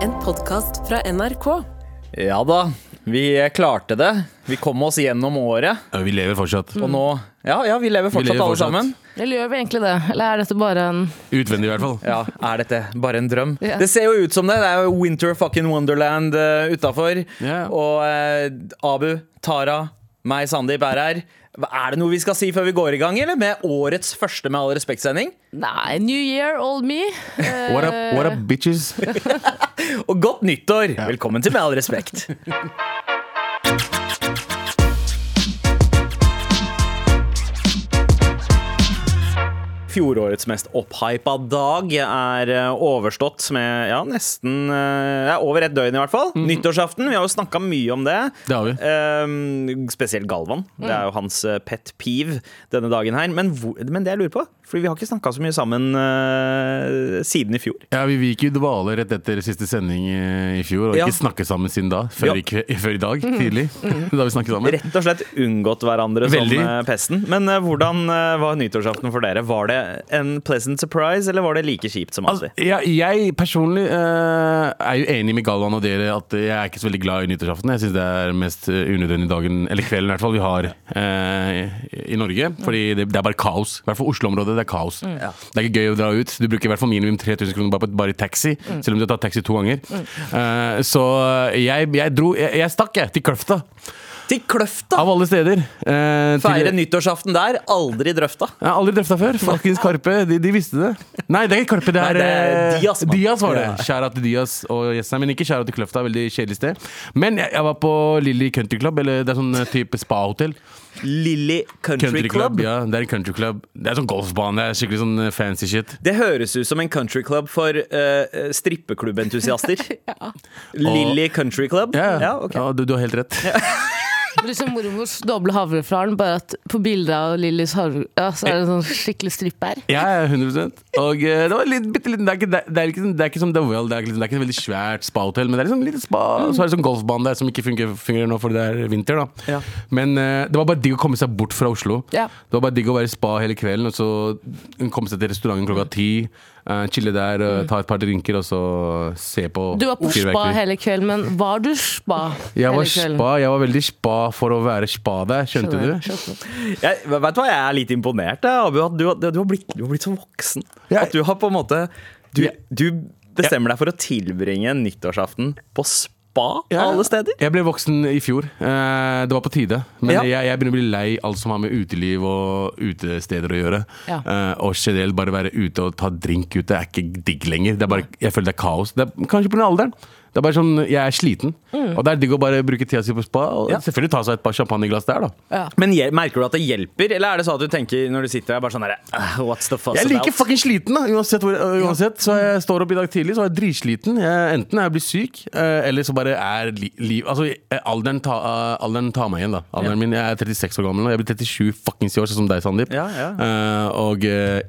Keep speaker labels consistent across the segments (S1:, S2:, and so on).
S1: podkast fra NRK.
S2: Ja da, vi klarte det. Vi kom oss gjennom året,
S3: Ja, vi lever fortsatt.
S2: og nå Ja, ja, vi lever Mm. fortsatt,
S3: Mm. lever
S2: alle
S3: fortsatt.
S2: sammen.
S1: Eller gjør vi egentlig det? Eller er dette bare en
S3: Utvendig i hvert fall.
S2: Ja, Er dette bare en drøm?
S1: Ja.
S2: Det ser jo ut som det. Det er jo Winter fucking Wonderland uh, utafor.
S3: Ja.
S2: Og eh, Abu, Tara, meg, Sandeep er her. Hva- Er det noe vi skal si før vi går i gang, eller? Med årets første Med all respekt-sending.
S1: Nei, New Year, old me. Eh,
S3: What up, what up bitches?
S2: Og godt nyttår! Velkommen til Med all respekt. Fjorårets mest opphypa dag er eh, overstått med ja, nesten eh, ja, over et døgn, i hvert fall. Nyttårsaften. Vi har jo snakka mye om det.
S3: Mhm. Det har vi. Mm.
S2: Ehm, spesielt Galvan. Det er jo hans eh, pet peeve denne dagen her. Men, hvor, men det jeg lurer på, Fordi vi har ikke snakka så mye sammen eh, siden i fjor.
S3: Ja, Vi gikk jo i dvale rett etter siste sending eh, i fjor, og
S2: Ja.
S3: ikke snakket sammen siden da. Før,
S2: Ja. Mm.
S3: i, kve- før i dag, tidlig. Da vi snakket sammen.
S2: Rett og slett unngått hverandre
S3: Veldig.
S2: som eh, pesten. Men eh, hvordan eh, var nyttårsaften for dere? Var det en pleasant surprise, eller var det like kjipt som
S3: Altså,
S2: alltid?
S3: jeg, jeg personlig eh, er jo enig med Galvan og dere at jeg er ikke så veldig glad i nyttårsaften. Jeg syns det er mest eh, unødvendige dagen, eller kvelden i hvert fall, vi har eh, i Norge. Fordi det, det er bare kaos. I hvert fall Oslo-området, det er kaos. Det er ikke gøy å dra ut. Du bruker i hvert fall minimum 3000 kroner bare, på, bare i taxi, selv om du har tatt taxi to ganger. Eh, så jeg, jeg dro Jeg, jeg stakk, jeg, til Kløfta.
S2: Til Kløfta!
S3: Av alle steder. eh, til-
S2: Feire nyttårsaften der, aldri drøfta.
S3: jeg har aldri drøfta før. Fuckings Karpe, de, de visste det. Nei, det er ikke Karpe, det er,
S2: Nei, det er
S3: eh,
S2: Diaz, mann.
S3: Diaz var det.
S2: Ja.
S3: Skjæra til Diaz og gjestene, men ikke skjæra til Kløfta. Veldig kjedelig sted. Men jeg, jeg var på Lilly Country Club, eller det er sånn eh, type spahotell.
S2: Lilly Country,
S3: Country
S2: Club.
S3: Club, ja, det er en country club. Det er sånn golfbane, det er skikkelig sånn eh, fancy shit.
S2: Det høres ut som en country club for uh, strippeklubbentusiaster. Lilly Country Club?
S3: Ja, ja.
S2: ja ok.
S3: ja du, du har helt rett.
S4: Liksom mormors doble havreflaren, bare at på bildet av Lillys havre... Ja, så er det en sånn skikkelig stripp her.
S3: Ja, ja, 100 Og eh, det var litt, bitte liten det, er ikke- det, det, er ikke- sånn, det er ikke som The Well, det er, ikke- liksom, det er ikke et veldig svært spa-hotell, men det er liksom litt spa.
S4: Mm.
S3: Og så er det sånn golfbane der som ikke fungerer, fungerer nå fordi det er vinter, da.
S2: Ja.
S3: Men eh, det var bare digg å komme seg bort fra Oslo.
S4: Ja.
S3: Det var bare digg å være i spa hele kvelden, og så komme seg til restauranten klokka ti. eh, chille der, eh, ta et par drinker, og så se på
S4: Mm. Du var på
S3: fyrverkeri.
S4: spa hele kvelden, men var du spa
S3: jeg var
S4: hele kvelden?
S3: spa, jeg var veldig spa for å være spa der, skjønte
S4: Skjønner,
S3: du?
S4: skjønner.
S2: Jeg, vet du hva, jeg er litt imponert, jeg, Abu. At du, har- du, har blitt, du har blitt så voksen.
S3: Jeg-
S2: At du har på en måte Du,
S3: Jeg-
S2: du bestemmer deg for å tilbringe nyttårsaften på spa
S3: Ja.
S2: alle steder.
S3: Jeg ble voksen i fjor. Eh, det var på tide. Men
S2: Ja.
S3: jeg, jeg begynner å bli lei alt som har med uteliv og utesteder å gjøre.
S4: Ja.
S3: Eh, og generelt bare være ute og ta drink ute er ikke digg lenger. Det er bare, jeg føler det er kaos. Det er, kanskje pga. alderen. Det er bare sånn, Jeg er sliten. Og det er digg å bare bruke tida si på spa. Og
S2: Mm. Ja.
S3: selvfølgelig ta seg et par champagneglass der, da.
S4: Ja.
S2: Men hjel- merker du at det hjelper, eller er det sånn at du tenker når du sitter der bare sånn der, «Ah, What's the fuss
S3: Jeg er like
S2: about?
S3: fucking sliten, da. Uansett, hvor, øh, uansett. Så jeg står opp i dag tidlig, så er jeg dritsliten. Jeg, enten er jeg blir syk, øh, eller så bare er li, liv Altså, jeg- alderen, ta, øh, alderen tar meg igjen, da. Alderen min, Jeg er 36 år gammel nå. Jeg blir 37 fuckings i år, sånn som deg, Sandeep.
S2: Ja, ja.
S3: Eh, og øh,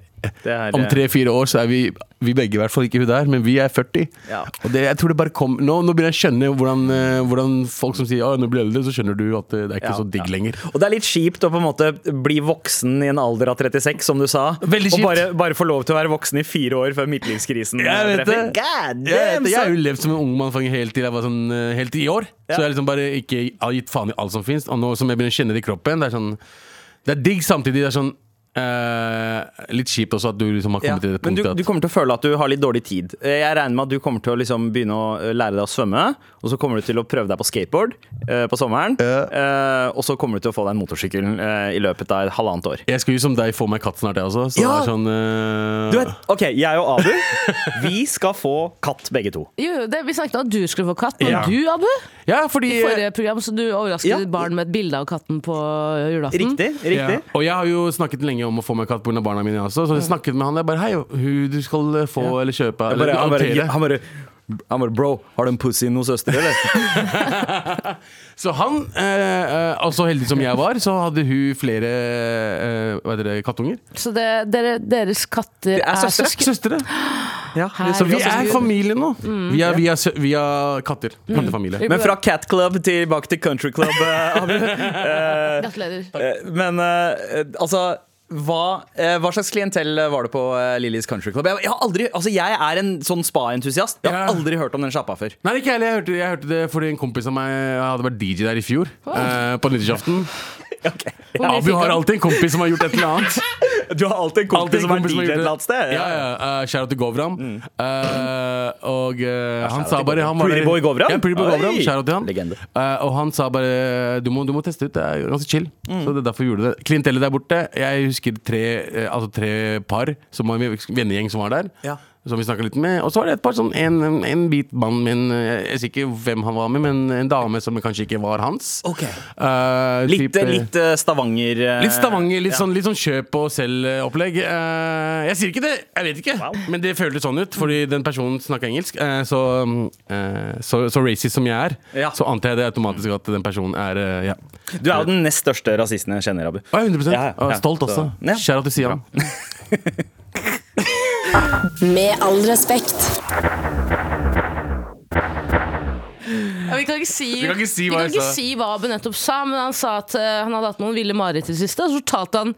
S2: Det er,
S3: om
S2: eh,
S3: tre-fire år så er vi Vi begge, i hvert fall ikke hun der, men vi er 40.
S2: Ja.
S3: Og det, jeg tror det bare kom Nå, nå begynner jeg å skjønne hvordan, øh, hvordan folk som sier 'Å, nå blir jeg eldre', så skjønner du at øh, det er
S2: Ja,
S3: ikke så digg
S2: ja.
S3: lenger.
S2: Og det er litt kjipt å på en måte bli voksen i en alder av 36, som du sa.
S3: Veldig
S2: Og
S3: kjipt.
S2: bare, bare få lov til å være voksen i fire år før midtlivskrisen
S3: Jeg vet
S2: treffer. God
S3: det. Jeg, vet
S2: damn,
S3: det. jeg har
S2: son.
S3: jo levd som en ung mann for helt til jeg var sånn eh, helt i år.
S2: Ja.
S3: Så jeg liksom bare ikke har gitt faen i alt som fins. Og nå som jeg begynner å kjenne det i kroppen, det er sånn Det er digg samtidig. Det er sånn eh, litt kjipt også at du liksom har
S2: Ja.
S3: kommet til det
S2: Men du,
S3: punktet
S2: du kommer til å føle at du har litt dårlig tid. Eh, Jeg regner med at du kommer til å liksom begynne å eh, lære deg å svømme, og så kommer du til å prøve deg på skateboard eh, på sommeren. Eh, og så kommer du til å få deg en motorsykkel eh, i løpet av et halvannet år.
S3: at jeg skal jo som deg få meg katt snart, jeg også. Så
S2: Ja!
S3: det er sånn eh,
S2: Du vet, ok, jeg og Abu Vi skal få katt begge to
S4: Jo, jo, det, vi snakket om at du skulle få katt, men
S3: Ja.
S4: du, Abu,
S3: Ja, fordi
S4: i forrige program, så du overrasket
S2: Ja.
S4: ditt barn med et bilde av katten på julaften.
S2: Riktig, riktig
S3: Ja. Og jeg har jo snakket lenge om å få meg katt pga. barna mine også. Så jeg snakket med han jeg bare Hei, hun du skal eh, få eller kjøpe
S2: Mm. Jeg
S3: eller
S2: bare, han, bare,
S3: adoptere».
S2: han, bare, han bare Bro, har du en pussy i noen søster, eller?
S3: Så han, eh, eh, altså heldig som jeg var, så hadde hun flere eh, hva heter det, kattunger.
S4: Så det, dere, deres katter
S2: er
S4: er,
S2: søstre.
S4: søsken.
S3: Søstre.
S2: Ja.
S3: Så vi
S4: Herregud. Mm.
S3: er familie nå. Vi er, vi er, sø- vi er katter. Kattefamilie.
S2: Men fra cat club tilbake til country club eh, Abu.
S4: Gratulerer.
S2: Eh, Men eh, altså hva, eh, hva slags klientell var det på eh, Lillys Country Club? Jeg, jeg, har aldri, altså, jeg er en sånn spa-entusiast. Jeg har
S3: Ja.
S2: aldri hørt om den sjappa før.
S3: Nei, ikke heller. Jeg hørte, jeg hørte det fordi en kompis av meg hadde vært DJ der i fjor. eh, på nyttårsaften.
S4: mye
S3: Abu
S4: fikk
S3: har
S4: han?
S3: alltid en kompis som har gjort et eller annet.
S2: Du har alltid en
S3: Alltid
S2: kompis som er DJ et
S3: kompis gjort det.
S2: eller annet sted. Mm.
S3: Ja, ja, eh, Shout out til Govram. Eh, og eh, han
S2: shout
S3: sa
S2: out til
S3: bare han var-
S2: Pretty boy Govram?
S3: Ja, Pretty boy Govram.
S2: Oi!
S3: Shout out til han.
S2: Legende.
S3: Eh, og han sa bare du må, du må teste ut, det er ganske chill.
S2: Mm.
S3: Så det er derfor vi gjorde det. Klientellet der borte, jeg husker tre, eh, altså tre par, som var en vennegjeng som var der.
S2: Ja.
S3: Som vi snakka litt med. Og så var det et par sånn en, en hvit mann med en eh, Jeg sier ikke hvem han var med, men en dame som kanskje ikke var hans.
S2: Ok.
S3: Eh,
S2: Litt,
S3: typ, eh,
S2: litt eh, Stavanger eh,
S3: Litt Stavanger, litt,
S2: ja.
S3: sånn, litt sånn kjøp og selg-opplegg. Eh, jeg sier ikke det, jeg vet ikke,
S2: Wow.
S3: men det føltes sånn ut. Fordi den personen snakka engelsk. eh, så, mm, eh, så, så racist som jeg er,
S2: Ja.
S3: så antar jeg det automatisk at den personen er eh, ja.
S2: Du er jo den nest største rasisten jeg kjenner, Abu.
S3: Å, 100
S2: Ja, ja,
S3: Og
S2: ja.
S3: Stolt
S2: Så-
S3: også.
S2: ja.
S3: Kjære at du sier han.
S5: Med all respekt.
S4: Ja, vi kan ikke si,
S3: Vi kan ikke si
S4: vi
S3: hva
S4: kan
S3: jeg
S4: ikke
S3: sa.
S4: si hva Abu nettopp sa, men han sa at eh, han hadde hatt noen ville mareritt i det siste. Og så fortalte han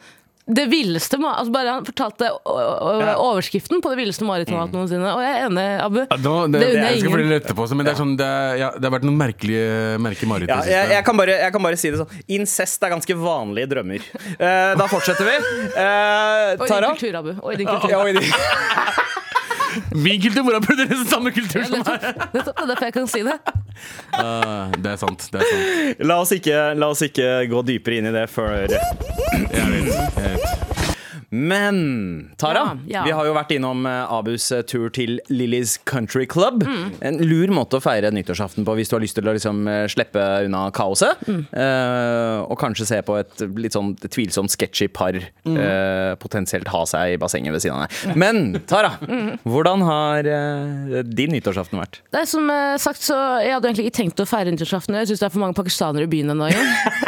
S4: det villeste ma- altså Bare han fortalte ø, ø,
S2: Ja.
S4: overskriften på det villeste marerittet han har hatt noensinne. Og jeg er enig, Abu.
S3: Mm. Nå, det,
S4: Det unner
S3: jeg
S4: jeg
S3: skal
S4: ingen.
S3: fortelle det etterpå, så, men det, er sånn, det, er, ja, det har vært noen merkelige merkelige mareritt. i
S2: Ja,
S3: det
S2: jeg,
S3: siste.
S2: jeg, kan bare, jeg kan bare si det sånn. Incest er ganske vanlige drømmer. Eh, da fortsetter vi. Eh,
S4: Og i din
S2: Tara?
S4: kultur, Abu. Og i din kultur.
S2: Ja, og i din-
S3: Min kultur! Hvordan burde det samme kultur som her?
S4: Nettopp, det er derfor jeg kan si det.
S3: Eh, det er sant. Det er sant.
S2: La oss, ikke, la oss ikke gå dypere inn i det før
S3: Jeg vet, jeg vet.
S2: Men Tara,
S4: Ja, ja.
S2: vi har jo vært innom eh, Abus eh, tur til Lillys Country Club.
S4: Mm.
S2: En lur måte å feire nyttårsaften på hvis du har lyst til å liksom, eh, slippe unna kaoset.
S4: Mm.
S2: eh, og kanskje se på et litt sånn tvilsomt sketchy par
S4: Mm.
S2: eh, potensielt ha seg i bassenget ved siden av deg. Men Tara,
S4: Mm.
S2: hvordan har eh, din nyttårsaften vært?
S4: Det er som eh, sagt, så Jeg hadde egentlig ikke tenkt å feire nyttårsaften. Jeg syns det er for mange pakistanere i byen ennå.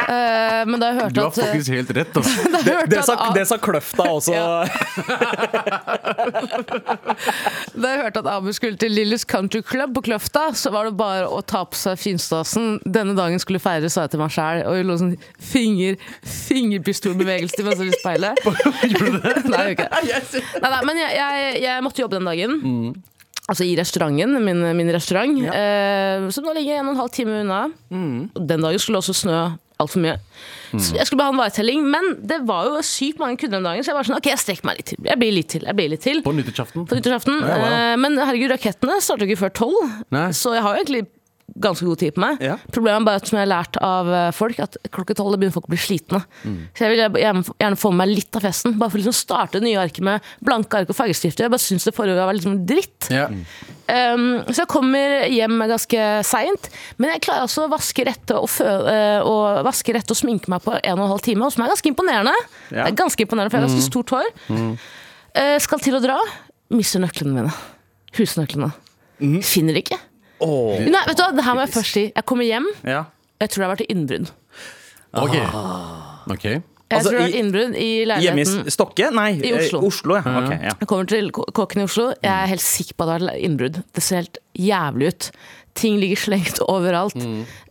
S4: Uh, men da jeg
S3: Du
S4: hørte
S3: har
S4: at eh,
S3: faktisk helt rett. Altså.
S4: da jeg hørte
S2: Det
S4: at
S2: sa,
S4: A-
S2: det sa Kløfta også.
S4: Da jeg hørte at Abu skulle til Lillys Country Club på Kløfta, så var det bare å ta på seg finstasen. Denne dagen skulle feires, sa jeg til meg sjæl. Og jeg lå sånn finger, fingerpistolbevegelse til meg selv i speilet.
S3: Gjorde du det?
S4: Nei, jeg gjorde ikke. det. Nei, nei, men jeg, jeg, jeg måtte jobbe den dagen. Altså i restauranten, min, min restaurant, eh, som nå ligger en og en halv time unna. Og Den dagen skulle det også snø altfor mye. Så jeg skulle bare ha en varetelling, men det var jo sykt mange kunder den dagen, så jeg var sånn OK, jeg strekker meg litt til. Jeg blir litt til. Jeg blir litt til
S3: På nyttårsaften.
S4: på nyttårsaften.
S3: Ja, ja.
S4: Eh, Men herregud, rakettene starter jo ikke før tolv,
S3: Nei.
S4: så jeg har jo egentlig ganske god tid på meg.
S2: Ja.
S4: Problemet er bare at som jeg har lært av eh, folk, at klokka tolv da begynner folk å bli slitne.
S3: Mm.
S4: Så jeg vil gjerne gjerne få med meg litt av festen, bare for å liksom starte nye ark med blanke ark og fargestifter. Jeg bare syns det forrige var liksom dritt.
S3: Ja.
S4: Um, så jeg kommer hjem ganske seint, men jeg klarer altså å vaske rette og, fø eh, og, vaske rette og sminke meg på en og en halv time, og som er ganske imponerende.
S2: Ja. Mm.
S4: Det er ganske imponerende, for jeg har ganske stort hår. Eh, skal til å dra, mister nøklene mine. Husnøklene. Finner ikke.
S2: Mm. Åh.
S4: Nei, vet du hva, det her må jeg først si. Jeg kommer hjem,
S2: Ja.
S4: og jeg tror det har vært innbrudd.
S3: Ok. Ah. Ok.
S4: Jeg
S2: Altså,
S4: tror det har vært
S2: i-
S4: innbrudd
S2: Hjemme
S4: i
S2: i
S4: leiligheten.
S2: S- Stokke? Nei,
S4: I Oslo.
S2: eh, Oslo ja. Ok, ja.
S4: Jeg kommer til ko- kåken i Oslo. Jeg er helt sikker på at det har vært innbrudd. Det ser helt jævlig ut. Ting ligger slengt overalt.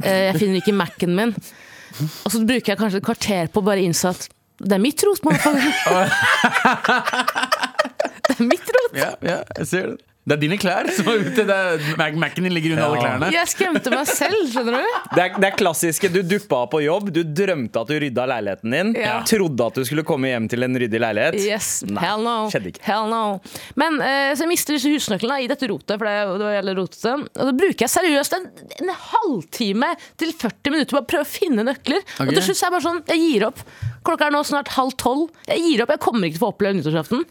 S4: Eh, Jeg finner ikke Mac-en min. Og så bruker jeg kanskje et kvarter på å bare innse at det er mitt rot. motherfucker. Det er mitt rot.
S3: Ja, ja, jeg ser det. Det er dine klær som er ute. Det er Mac Mac-en din ligger under alle klærne.
S4: Jeg skremte meg selv, skjønner du.
S2: Det er, det er klassiske. Du duppa på jobb, du drømte at du rydda leiligheten din.
S4: Ja.
S2: Trodde at du skulle komme hjem til en ryddig leilighet.
S4: Yes, hell no.
S2: skjedde ikke.
S4: Hell no. Men eh, så jeg mister disse husnøklene i dette rotet, for det, det var jævlig rotete. Og da bruker jeg seriøst en, en halvtime til 40 minutter på å prøve å finne nøkler. Og
S3: Ok.
S4: til slutt så er jeg bare sånn, jeg gir opp. Klokka er nå snart halv tolv. Jeg gir opp, jeg kommer ikke til å få oppleve nyttårsaften.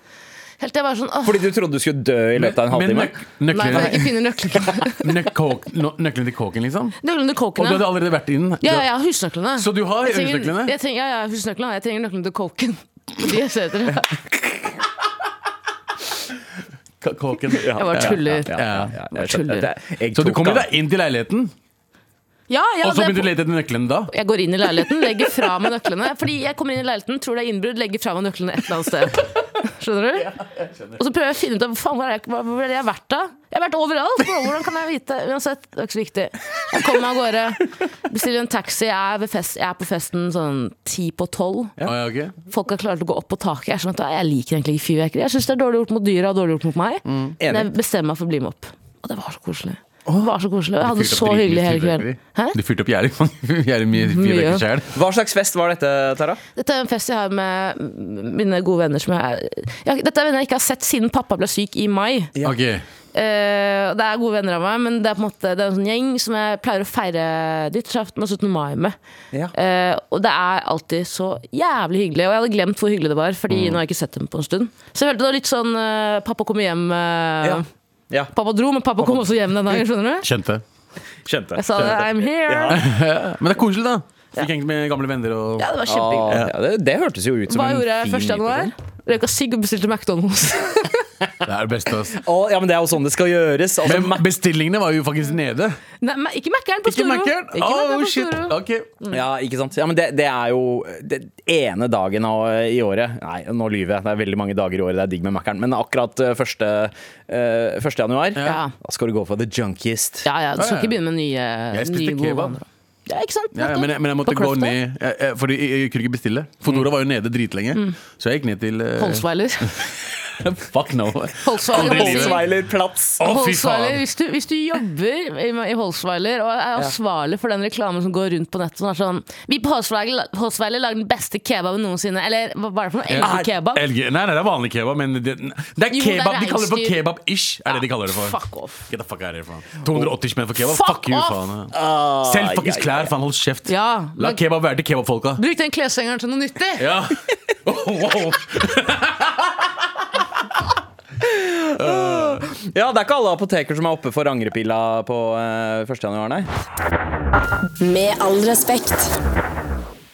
S4: Helt til jeg bare sånn, åh,
S2: Fordi du trodde du skulle dø i løpet av en halvtime?
S3: nøk
S4: nei, for jeg
S3: nøklene,
S4: ikke finner nøklene.
S3: nøk kåk- nå- nøklene til kåken, liksom?
S4: nøklene
S3: Og
S4: til
S3: du
S4: kåkene.
S3: hadde allerede vært inn?
S4: Ja, ja, jeg har husnøklene.
S3: Så du har
S4: Jeg trenger-
S3: husnøklene?
S4: Jeg trenger, ja, ja, husnøklene. Jeg trenger nøklene til kåken. De ser etter det.
S3: K- Kåken. Ja.
S4: Jeg bare tuller.
S2: Ja, ja, ja, jeg skjønner.
S4: Tuller.
S2: Det er- jeg
S3: Så du
S2: tok
S3: kommer
S2: han.
S3: deg inn til leiligheten,
S4: Ja, ja,
S3: og så
S4: det er
S3: begynte du å lete etter nøklene da?
S4: Jeg går inn i leiligheten, legger fra meg nøklene. Fordi jeg kommer inn i leiligheten, tror det er innbrudd, legger fra meg nøklene et eller annet sted. Skjønner du? og så prøver jeg å finne ut av faen, hvor, er jeg, hva- hvor har jeg vært da? Jeg har vært overalt! Bro. Hvordan kan jeg vite? Uansett, det er ikke så viktig. Jeg kommer meg av gårde, bestiller en taxi, jeg er, ved fest, jeg er på festen sånn ti på tolv.
S3: Å, ja, ok.
S4: Folk har klart å gå opp på taket. Jeg, er sånn at, jeg liker egentlig ikke fyrverkeri. Jeg syns det er dårlig gjort mot dyra og dårlig gjort mot meg. Men jeg bestemmer meg for å bli med opp. Og det var så koselig. Det var så koselig. Jeg hadde det så hyggelig hele kvelden. Hæ?
S3: Du fyrte opp jævlig mange- jævlig mye
S4: Mye.
S3: fyrverkeri sjæl.
S2: Hva slags fest var dette, Tara?
S4: Dette er en fest jeg har med mine gode venner som jeg, jeg Dette er venner jeg ikke har sett siden pappa ble syk i mai.
S3: Ok.
S4: Eh, og det er gode venner av meg, men det er på en måte Det er en sånn gjeng som jeg pleier å feire nyttårsaften og 17. mai med.
S2: Ja.
S4: Eh, og det er alltid så jævlig hyggelig. Og jeg hadde glemt hvor hyggelig det var, Fordi
S2: Mm.
S4: nå har jeg ikke sett dem på en stund. Så jeg følte det var litt sånn eh, Pappa kom hjem eh,
S2: Ja. Ja,
S4: Pappa dro, men pappa, kom også hjem den dagen, skjønner du?
S3: Skjønte.
S2: skjønte.
S4: Jeg sa
S2: skjønte.
S4: I'm here.
S2: Ja.
S3: Men det er koselig, da. Fikk hengt med gamle venner og
S4: Ja, det var kjempehyggelig.
S2: Ja, det, det hørtes jo ut som
S4: Hva
S2: en
S4: gjorde jeg
S2: fin
S4: 1. januar? Røyka sigg og bestilte McDonald's.
S3: Det er det beste, ass.
S2: Å, ja, men Det er jo sånn det skal gjøres. Altså,
S3: Men bestillingene var jo faktisk nede.
S4: Nei, men ikke Mækkern på
S3: Ikke
S4: Storo.
S3: Mac-en.
S4: Ikke Mm. Mac-en
S3: Oh,
S4: på
S3: shit.
S4: Storo.
S3: Ok.
S2: ja, ikke sant? Ja, men det, det er jo den ene dagen av, i året Nei, nå lyver jeg. Det er veldig mange dager i året det er digg med Mækkern. Men akkurat eh, 1. januar,
S4: Ja.
S2: da skal du gå for the junkiest.
S4: Ja, ja, Du
S3: Ja,
S4: skal
S3: ja.
S4: ikke begynne med nye,
S3: Jeg spiste
S4: nye gode
S3: kebab.
S4: vaner. Ja, ikke sant?
S3: Ja, ja, men, jeg, men jeg måtte
S4: På Mm.
S3: gå
S4: Crafter?
S3: ned, jeg, jeg, fordi jeg, jeg kunne ikke bestille. Fodora var jo nede dritlenge, så jeg gikk ned til eh,
S4: Holsweiler.
S3: Fuck no. Aldri
S4: Holsweiler.
S3: i livet.
S2: Holsweiler plats.
S3: Å, fy
S4: Holsweiler,
S3: faen.
S4: hvis, du, hvis du jobber i, i Holsweiler og er ansvarlig for den reklamen som går rundt på nettet som er sånn Vi på Holsweiler, Holsweiler lager den beste kebaben noensinne. Eller hva hva er det for noe? Elg kebab?
S3: Elg- Nei, nei, det er vanlig kebab, men det, det er
S4: Jo, det er
S3: kebab. De kaller det for
S4: reinsdyr.
S3: kebab-ish. er det de kaller det for.
S4: Fuck off.
S3: Get the fuck out of here, faen. 280 spenn for kebab?
S4: Fuck
S3: Fuck, you,
S4: off! Ah,
S3: faen. Selv fuckings klær, faen. Hold kjeft.
S4: Ja,
S3: La
S4: men-
S3: kebab være til kebabfolka.
S4: Bruk den kleshengeren til noe nyttig!
S3: Ja. wow.
S2: Ja, det er ikke alle apoteker som er oppe for angrepilla på eh, 1. januar, nei.
S5: Med all respekt.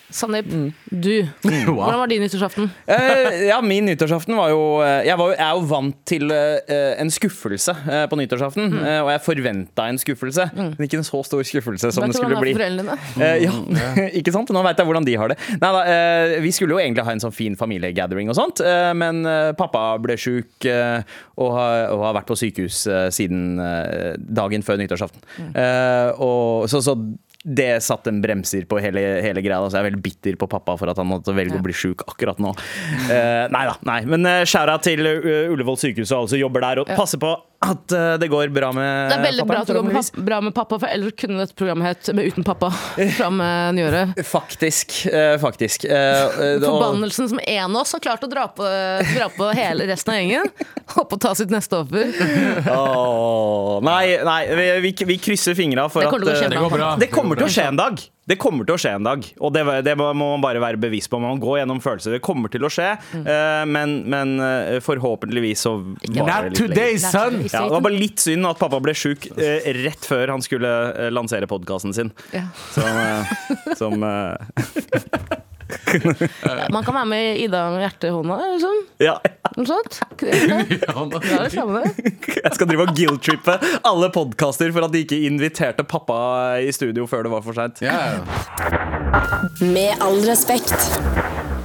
S4: Sandeep, du.
S3: Mm. Wow.
S4: Hvordan var din nyttårsaften?
S2: Eh, ja, min nyttårsaften var jo eh, jeg, var, jo- jeg er jo vant til eh, en skuffelse eh, på nyttårsaften.
S4: Mm.
S2: eh, og jeg forventa en skuffelse, men ikke en så stor skuffelse som
S4: Vet
S2: det
S4: du
S2: skulle
S4: hvordan det er
S2: bli.
S4: for foreldrene dine?
S2: Eh, ja, ikke sant? Nå veit jeg hvordan de har det. Neida, eh, vi skulle jo egentlig ha en sånn fin familiegathering og sånt, eh, men eh, pappa ble sjuk eh, og, har- og har vært på sykehus eh, siden eh, dagen før nyttårsaften.
S4: Mm.
S2: Eh, og, så, så det satt en bremser på hele, hele greia. da, Så jeg er veldig bitter på pappa for at han måtte velge å bli sjuk akkurat nå. Eh, nei da, nei. Men uh, skjæra til eh, Ullevål sykehus og alle som jobber der, og passer på at eh, det går bra med
S4: Det er veldig bra at du går med
S2: Eh, forhåpentligvis.
S4: pappa, bra med pappa, for ellers kunne dette programmet hett med 'Uten pappa' fra med nyåret.
S2: Faktisk. eh, faktisk. Eh, eh, og-
S4: Forbannelsen som en av oss har klart å dra på, dra på hele resten av gjengen. Håper å ta sitt neste offer.
S2: Åh, nei, nei vi, vi, vi krysser fingra for
S4: Det
S2: at
S4: kommer til å skje
S2: eh,
S4: en dag.
S3: går bra.
S2: Det kommer til å skje en dag. Det kommer til å skje en dag, og det, det må man bare være bevisst på. Man må gå gjennom følelser. Det kommer til å skje,
S4: Mm.
S2: eh, men, men eh, forhåpentligvis så varer det
S3: Not
S2: litt lenger.
S3: today, son!
S2: Ja, det var bare litt synd at pappa ble sjuk eh, rett før han skulle eh, lansere podkasten sin.
S4: Ja.
S2: Som, eh, som eh,
S4: Man kan være med Ida med hjertet i hånda, liksom.
S2: Ja,
S4: Noe sånt. Det er det samme, det.
S2: jeg skal drive og guilt-trippe alle podkaster for at de ikke inviterte pappa i studio før det var for seint.
S3: Ja,
S5: Med all respekt.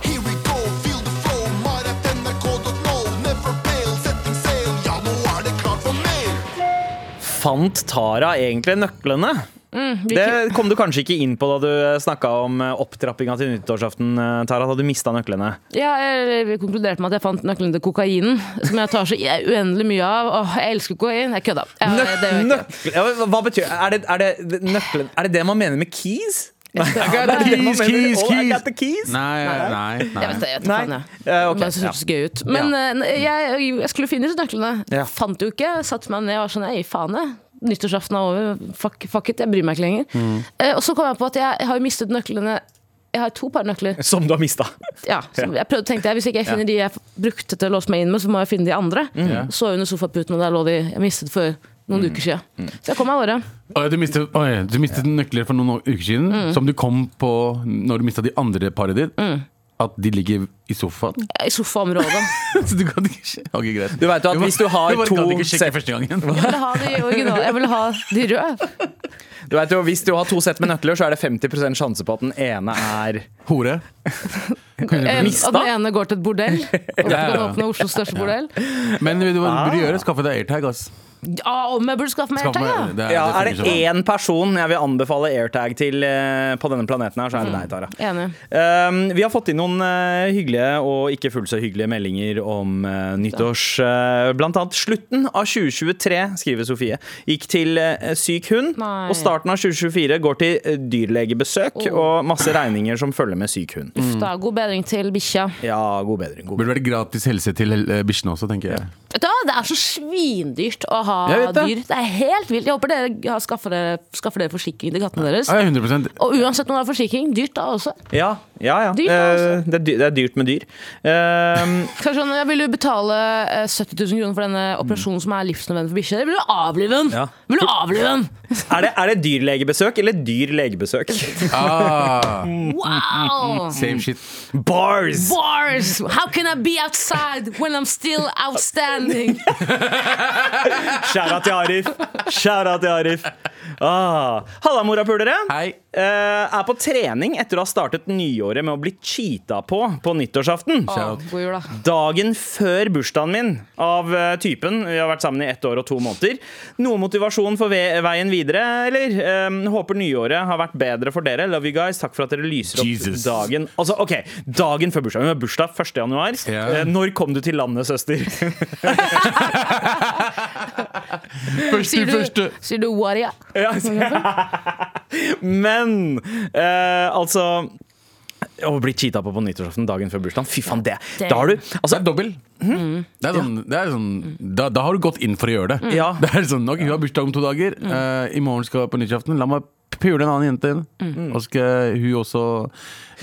S6: Here we go, feel the flow. Mar.nrk.no, never fail. Setting sail, ja, nå er det klart for mer.
S2: Fant Tara egentlig nøklene? Det kom du kanskje ikke inn på da du snakka om eh, opptrappinga til nyttårsaften, eh, Tara. Da du mista nøklene.
S4: Ja, jeg konkluderte med at jeg fant nøkkelen til kokainen, som jeg tar så uendelig mye av. Åh, jeg elsker kokain. Jeg kødda. Jeg, det gjør jeg ikke.
S2: Nøkle- Ja, hva- Hva betyr er det? Er det, nøklen, er det det man mener med keys? Nei,
S4: skal ha
S2: er det det
S4: det.
S2: man
S3: Keys,
S2: mener?
S3: keys,
S2: Oh, I
S3: keys.
S2: got the keys.
S3: Nei, nei,
S4: Jeg vet
S3: nei.
S4: det, jeg vet
S2: Nei.
S4: faen, jeg.
S2: Eh, ok,
S4: Men det synes gøy ut. Men eh, jeg, jeg skulle finne ut nøklene.
S2: Ja.
S4: Fant jo ikke. Satte meg ned og var sånn Ei, faen, jeg. Nyttårsaften er over. Fuck, fuck it, jeg bryr meg ikke lenger.
S2: Mm.
S4: Eh, og så kom jeg på at jeg, jeg har jo mistet nøklene. Jeg har to par nøkler.
S2: Som du har mista.
S4: Ja, så jeg prøvde, tenkte jeg, Hvis ikke jeg finner de jeg brukte til å låse meg inn med, så må jeg finne de andre.
S2: Mm.
S4: Så under sofaputen, og der lå de jeg mistet for noen uker siden.
S2: Mm.
S4: Så jeg kom meg av gårde.
S3: Oi, du mistet, oi, du mistet nøkler for noen uker siden,
S4: Mm.
S3: som du kom på når du mista de andre paret ditt. At de ligger i sofaen.
S4: I sofaområdet.
S3: Så du kan ikke sjekke. Ok, greit.
S2: Du vet jo at hvis du har
S3: bare
S2: to
S3: kan ikke sjekke
S2: sett-
S3: første gangen.
S4: Jeg ville ha de originale. Jeg ville ha de røde.
S2: Du vet jo, Hvis du har to sett med nøkler, så er det 50 sjanse på at den ene er eh,
S3: Hore.
S4: En,
S2: Mista?
S4: at Eh, den ene går til et bordell. Og
S3: Ja, ja,
S4: kan
S3: ja.
S4: åpne Oslos største bordell.
S3: Men det du burde gjøre, skaffe deg airtag. ass.
S4: Ja, om jeg burde skaffe meg
S3: Skaffe
S4: Ah. airtag, ja!
S3: meg- det
S2: Ja, Er
S3: det funker
S2: det
S3: som faen.
S2: én person jeg vil anbefale airtag til eh, på denne planeten, her, så er det deg, Tara.
S4: Enig.
S2: Um, vi har fått inn noen eh, hyggelige og ikke fullt så hyggelige meldinger om eh, nyttårs. eh, blant annet slutten av 2023, skriver Sofie, gikk til eh, syk hund.
S4: Nei.
S2: Og starten av 2024 går til eh, dyrlegebesøk
S4: Oh.
S2: og masse regninger som følger med syk hund.
S4: Uff da, god bedring til bikkja.
S2: Ja, god bedring. God bedring.
S3: sånn. Burde vært gratis helse til eh, bikkjene også, tenker jeg.
S4: Vet du hva, Det er så svindyrt å ha
S3: Jeg vet det.
S4: dyr. Det er helt vilt. Jeg håper dere har skaffer dere, skaffer dere forsikring til kattene deres.
S3: Ah, Ja, 100
S4: Og uansett om det er forsikring, dyrt da også.
S2: Ja, ja. ja.
S4: Dyrt,
S2: Eh,
S4: altså.
S2: det, er dy- det er dyrt med dyr. Um,
S4: Kanskje sånn, Jeg vil jo betale eh, 70 000 kroner for
S3: Mm.
S4: denne operasjonen som er livsnødvendig for bikkja. Jeg vil jo avlive den!
S2: Ja.
S4: Jeg Vil jo avlive den!
S2: er, det, er det dyrlegebesøk eller dyr legebesøk?
S3: Ah,
S4: Wow!
S3: same shit.
S2: Bars!
S4: Bars! How can I be outside when I'm still outstanding?
S2: Skjæra til Arif. Skjæra til Arif. Ah. Halla, morapulere.
S3: Hei.
S2: Eh, er på trening etter å ha startet nyåret med å bli cheata på på nyttårsaften.
S4: Å, God jul, da.
S2: Dagen før bursdagen min av eh, typen. Vi har vært sammen i ett år og to måneder. Noe motivasjon for ve veien videre, eller? Eh, håper nyåret har vært bedre for dere. Love you guys. Takk for at dere lyser opp
S3: Jesus.
S2: dagen. Altså, ok, Dagen før bursdagen. Hun har bursdag 1. januar.
S3: Ja.
S2: Eh, når kom du til landet, søster?
S3: Første,
S4: Sier du,
S3: første.
S4: sier du waria?
S2: Ja, altså. Men eh, altså å bli cheata på på nyttårsaften dagen før bursdagen. Fy faen, det!
S4: Det-
S2: Da har du altså,
S3: Det er dobbel. Det er sånn, det er sånn da, da har du gått inn for å gjøre det.
S2: Ja. Mm.
S3: Det er sånn, ok, Vi har bursdag om to dager. eh, I morgen skal jeg på nyttårsaften. La meg pule en annen jente.
S2: Mm.
S3: Og så skal hun også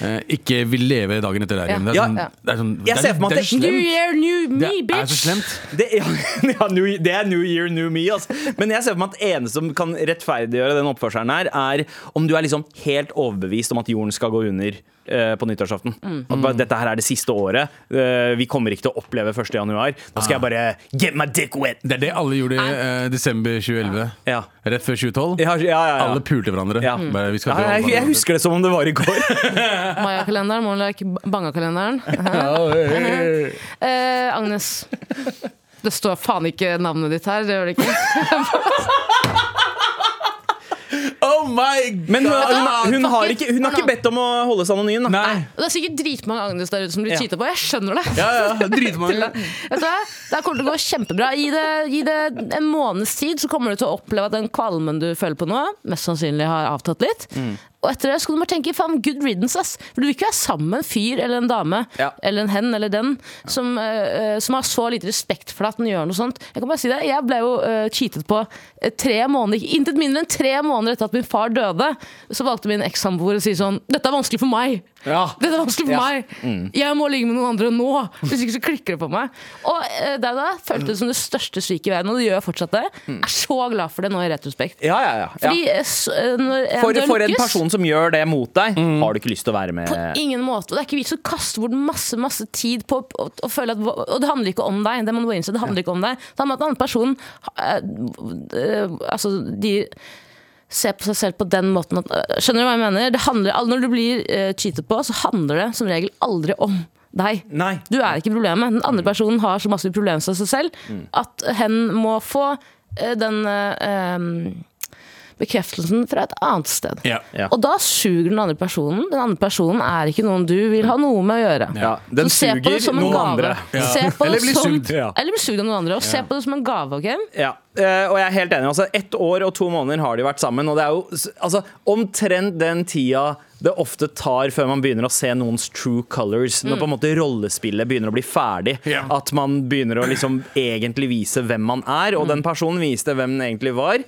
S3: eh, ikke vil leve dagen etter der igjen. Det er
S2: Ja.
S3: sånn,
S2: Ja.
S3: det er sånn,
S2: Jeg
S3: det
S2: ser
S3: er,
S2: for meg at
S3: det er
S2: det-
S4: New
S3: slemt.
S4: year, new
S3: Det
S4: me,
S3: er så
S4: bitch!
S3: slemt.
S2: det, ja, ja, new, det er new year, new me. Altså. Men jeg ser for meg at eneste som kan rettferdiggjøre den oppførselen her, er om du er liksom helt overbevist om at jorden skal gå under eh, på nyttårsaften. At bare, dette her er det siste året. Eh, vi kommer ikke til å oppleve 1. januar. Da skal jeg bare get my dick wet!
S3: Det er det alle gjorde i eh, desember 2011.
S2: Ja.
S3: Rett før 2012.
S2: Ja, ja, ja, ja.
S3: Alle pulte hverandre.
S2: Ja.
S3: Bare, vi skal
S2: Ja,
S3: ikke
S2: jeg,
S3: holde
S2: jeg husker det som om det var i går.
S4: Maya-kalenderen, må like Banga-kalenderen.
S3: hverandre.
S4: Eh, Agnes. Det står faen ikke navnet ditt her. Det gjør det ikke.
S3: Oh my god!
S2: Men hun, hun, hun,
S4: fuck
S2: har
S4: it.
S2: ikke, hun har ikke bedt om å holde seg anonym. Da.
S3: Nei.
S4: Og det er sikkert dritmange Agnes der ute som blir
S2: Ja.
S4: cheata på. Jeg skjønner det.
S3: Ja, ja, dritmange.
S4: Vet du hva? Det her kommer til å gå kjempebra. Gi det, gi det en måneds tid, så kommer du til å oppleve at den kvalmen du føler på nå, mest sannsynlig har avtatt litt.
S3: Mm.
S4: Og etter det skal du bare tenke faen, good riddance, ass. For du vil ikke være sammen med en fyr eller en dame
S2: Ja.
S4: eller en hen eller den som, eh, eh, som har så lite respekt for deg at den gjør noe sånt. Jeg kan bare si det, jeg ble jo eh, cheatet på eh, tre måneder, intet mindre enn tre måneder etter at min far døde. Så valgte min ekssamboer å si sånn Dette er vanskelig for meg.
S2: Ja. Mm.
S4: Dette er vanskelig for meg. Jeg må ligge med noen andre nå. Hvis ikke så klikker det på meg. Og eh, det da føltes som det største sviket i verden, og det gjør jeg fortsatt det. Jeg er så glad for det nå i retrospekt.
S2: Ja, ja, ja. Mm. ja.
S4: Fordi eh, s- eh, når en
S2: For,
S4: dør
S2: for en
S4: lukkes,
S2: person som gjør det mot deg, har du ikke lyst til å være med.
S4: Ingen måte. Og det er ikke vits å kaste bort masse masse tid på å- å å føle at Og det handler ikke om deg. Det må du bare innse. Det handler ikke om deg. Det handler om at den andre personen eh, eh, Altså, de ser på seg selv på den måten at eh, Skjønner du hva jeg mener? Det handler, al- når du blir eh, cheatet på, så handler det som regel aldri om deg.
S2: Nei.
S4: Du er ikke problemet. Den andre personen har så masse problemer med seg selv at hen må få eh, den eh, em, bekreftelsen fra et annet sted.
S3: Ja.
S2: Ja.
S4: Og da suger den andre personen. Den andre personen er ikke noen du vil ha noe med å gjøre.
S2: Ja, den
S4: Så se på det
S2: suger
S4: som en
S2: noen
S4: gave.
S2: andre.
S3: Ja.
S4: Se på
S3: Eller
S4: det
S3: blir
S4: som,
S3: sugd.
S2: Ja.
S4: Eller blir sugd av noen andre. Og se på det som en gave. ok?
S2: Ja. eh, Og jeg er helt enig. Altså, ett år og to måneder har de vært sammen. Og det er jo s- altså, omtrent den tida det ofte tar før man begynner å se noens true colors. Når på en måte rollespillet begynner å bli ferdig.
S3: Ja.
S2: At man begynner å liksom egentlig vise hvem man er. Og den personen viste hvem den egentlig var.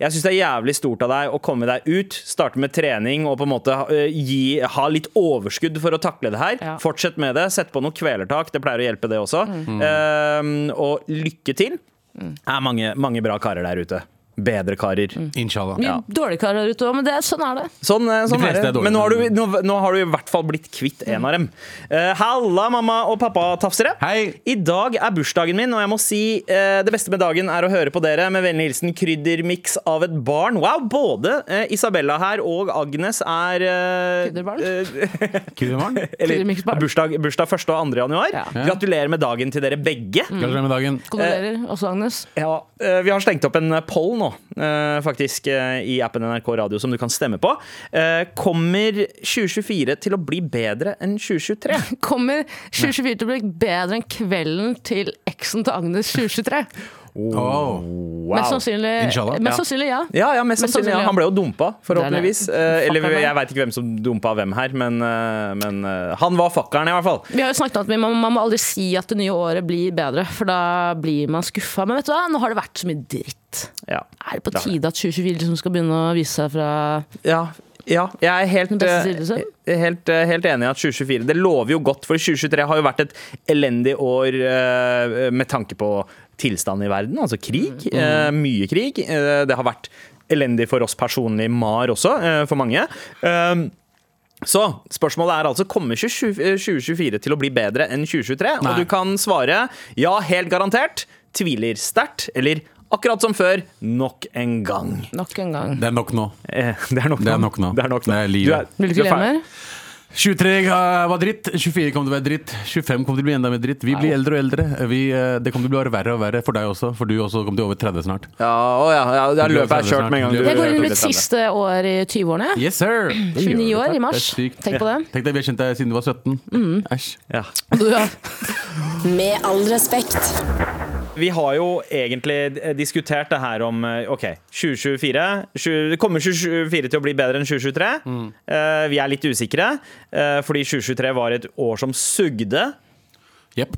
S2: Jeg syns det er jævlig stort av deg å komme deg ut, starte med trening og på en måte eh, gi, ha litt overskudd for å takle det her.
S4: Ja.
S2: Fortsett med det. Sett på noe kvelertak. Det Ehm, pleier å hjelpe, det også. Eh, og lykke til. Det er mange, mange bra karer der ute. bedre karer.
S3: Inshallah.
S4: Mye
S2: Ja.
S4: dårlige karer ute òg, men det, sånn er det.
S2: Sånn, eh, sånn
S3: De
S2: er
S3: fleste
S2: det.
S3: er dårlige.
S2: Men nå har, du, nå, nå har du i hvert fall blitt kvitt en av dem. Eh, Halla, mamma og pappa tafsere.
S3: Hei.
S2: I dag er bursdagen min, og jeg må si eh, det beste med dagen er å høre på dere. Med vennlig hilsen kryddermiks av et barn. Wow, både eh, Isabella her og Agnes er eh,
S4: Krydderbarn?
S2: eh,
S3: Krydderbarn.
S2: eller,
S4: Kryddermiksbarn.
S2: bursdag, bursdag 1. og 2. januar. Gratulerer med dagen til dere begge.
S3: Gratulerer med dagen.
S4: Kondolerer
S2: Eh.
S4: også, Agnes.
S2: Ja, eh, Vi har slengt opp en poll nå, eh, faktisk, eh, i appen NRK Radio, som du kan stemme på. Eh, Kommer 2024 til å bli bedre enn 2023?
S4: Kommer 2024 til å bli bedre enn kvelden til eksen til Agnes 2023?
S3: Oh.
S4: Mest
S2: Wow.
S4: sannsynlig,
S3: Inshallah.
S4: mest
S2: Ja.
S4: sannsynlig ja.
S2: Ja, ja, mest sannsynlig. Ja. Han ble jo dumpa, forhåpentligvis.
S4: Det er det.
S2: Eh, Eller
S4: Fuckeren.
S2: jeg veit ikke hvem som dumpa hvem her, men, eh, men eh, han var fuckeren, i hvert fall.
S4: Vi har jo snakket om at vi- man, man må aldri si at det nye året blir bedre, for da blir man skuffa. Men vet du hva, nå har det vært så mye dritt.
S2: Ja.
S4: Er det på
S2: Det er det.
S4: tide at 2024 liksom skal begynne å vise seg fra
S2: Ja, ja, jeg er helt,
S4: Den beste sidelsen?
S2: eh, helt, eh, helt enig i at 2024 Det lover jo godt, for 2023 har jo vært et elendig år eh, med tanke på tilstanden i verden. Altså krig. eh, Mye krig. Eh, Det har vært elendig for oss personlig, MAR også, eh, for mange. Eh, Så spørsmålet er altså kommer 20, eh, 2024 til å bli bedre enn 2023?
S3: Nei.
S2: Og du kan svare ja, helt garantert, tviler sterkt, eller akkurat som før, nok en gang.
S4: nok en gang?
S3: Det er nok nå.
S2: Eh, Det er nok
S3: Det er nok nå.
S2: Det er nok nå.
S3: Det er livet.
S4: Vil du ikke le mer?
S3: 23 var dritt, 24 kommer til å være dritt, 25 kommer til å bli enda mer dritt. Vi blir eldre og eldre. Vi, eh, det kommer til å bli verre og verre for deg også, for du også kommer til å over 30 snart.
S2: Ja, å ja, ja, ja løpet er kjørt med en gang du
S4: Jeg går inn i
S2: du
S4: mitt
S2: blir
S4: siste år i 20-årene. jeg.
S3: Yes, sir!
S4: 29 år i mars.
S3: Det er sykt.
S4: Tenk på det. Mm.
S3: Tenk deg, vi har kjent deg siden du var 17. Æsj.
S2: Ja.
S4: Du, ja.
S5: Med all respekt.
S2: Vi har jo egentlig diskutert det her om eh, OK, 2024 20, Kommer 2024 til å bli bedre enn 2023? Eh, vi er litt usikre, eh, fordi 2023 var et år som sugde.
S3: Jepp.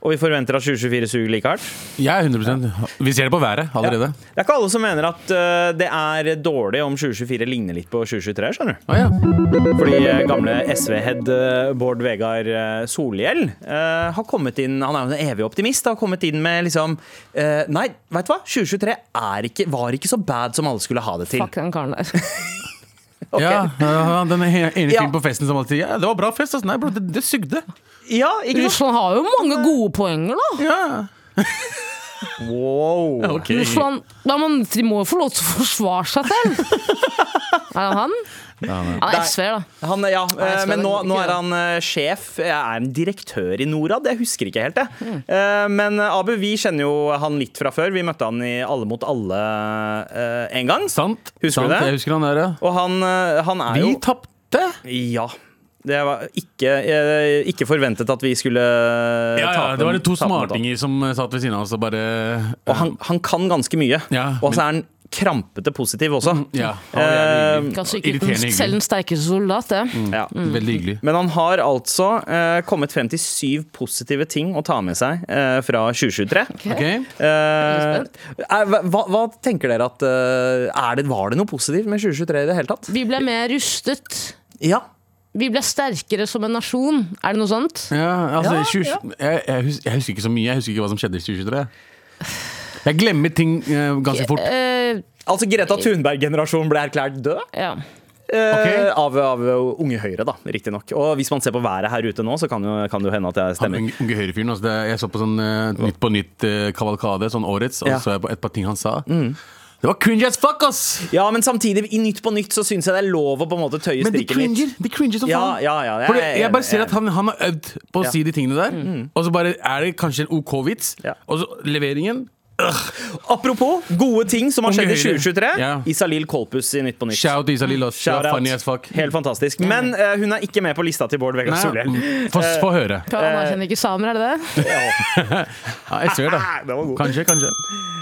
S2: Og vi forventer at 2024 suger like hardt.
S3: Jeg er 100 Vi ser det på været allerede.
S2: Det er ikke alle som mener at eh, det er dårlig om 2024 ligner litt på 2023, skjønner du.
S3: Å ja.
S2: Fordi eh, gamle SV-head eh, Bård Vegar eh, Solhjell eh, har kommet inn Han er jo en evig optimist. Har kommet inn med liksom eh, Nei, vet du hva? 2023 er ikke, var ikke så bad som alle skulle ha det til.
S4: Fuck den karen der.
S2: Ok.
S3: ja, ja, den ene fyren
S2: Ja.
S3: på festen som alltid Ja, det var bra fest, ass. Nei, bro, det, det sugde.
S2: Ja, ikke sant?
S4: Russland har jo mange gode poenger, da.
S3: Ja.
S2: Wow.
S3: Ok.
S4: Russland, ja, men De må jo få lov til å forsvare seg selv. Er det han? Han er SV-er, da.
S2: Han, ja, eh,
S4: jeg skal
S2: men nå,
S4: ikke
S2: nå
S4: gjøre
S2: er han eh, sjef. Jeg er en direktør i Norad, jeg husker ikke helt det.
S4: Mm.
S2: Eh, Men eh, Abu, vi kjenner jo han litt fra før. Vi møtte han i Alle mot alle eh, en gang.
S3: Sant.
S2: Husker du
S3: Sant,
S2: det?
S3: Jeg husker han der, ja.
S2: Og han, eh, han er
S3: Vi
S2: jo
S3: tapte.
S2: Ja. Det var ikke, eh, ikke forventet at vi skulle
S3: Ja, ja,
S2: tape
S3: det var de to
S2: tape mot han.
S3: smartinger som eh, satt ved siden av oss og bare
S2: Og han, han kan ganske mye.
S3: Ja,
S2: og så
S3: men- Mm,
S2: er han krampete positiv også.
S3: Ja.
S2: Eh,
S3: han var jævlig hyggelig.
S4: Kanskje ikke
S3: Irriterende
S4: den, selv
S3: hyggelig. Mm.
S4: den sterkeste soldat, det.
S2: Ja.
S3: Veldig hyggelig.
S2: Men han har altså eh, kommet frem til syv positive ting å ta med seg eh, fra 2023.
S3: Ok?
S2: Eh, er- hva, hva tenker dere at eh, er det, Var det noe positivt med 2023 i det hele tatt?
S4: Vi ble mer rustet.
S2: Ja.
S4: Vi ble sterkere som en nasjon. Er det noe sånt?
S3: Ja, altså,
S2: Ja,
S3: 20, Jeg, jeg, hus- jeg husker ikke så mye. Jeg husker ikke hva som skjedde i 2023. Jeg glemmer ting eh, ganske fort.
S4: Eh,
S2: Altså Greta Thunberg-generasjonen ble erklært død.
S4: ja.
S2: Eh,
S3: Ok.
S2: av, av Unge Høyre, da, riktignok. Og hvis man ser på været her ute nå, så kan, jo, kan det jo hende at jeg
S3: Han
S2: stemmer.
S3: unge, unge høyrefyren. Altså, det, jeg så på sånn eh, Nytt på nytt-kavalkade, sånn årets, og
S2: Ja. Mm.
S3: så så jeg på et par ting han sa. Det var cringe as fuck, ass!
S2: Ja, men samtidig, i Nytt på Nytt så syns jeg det er lov å på en måte tøye
S3: Men de
S2: strikken litt.
S3: cringer, de cringer som
S2: Ja,
S3: faen.
S2: ja, ja, jeg
S3: Fordi
S2: er
S3: jeg
S2: enig,
S3: bare ser
S2: jeg er
S3: at han, han har øvd på å si de tingene der, og så bare er det kanskje en OK vits,
S2: Ja.
S3: og så leveringen
S2: Apropos gode ting som har
S3: Unge
S2: skjedd i
S3: Høyre.
S2: 2023.
S3: Ja.
S2: Isalil Kolpus i Nytt på Nytt.
S3: Shout Isalill, ass.
S2: Shout out.
S3: Funny as fuck. Mm.
S2: Helt fantastisk. Men eh, hun er ikke med på lista til Bård Vegar
S3: Nei,
S2: Solhjell.
S3: mm, Få få høre.
S4: Han anerkjenner
S3: Eh.
S4: ikke samer, er det det?
S3: Ja, jeg ser det.
S2: Ah, det var god.
S3: Kanskje, kanskje.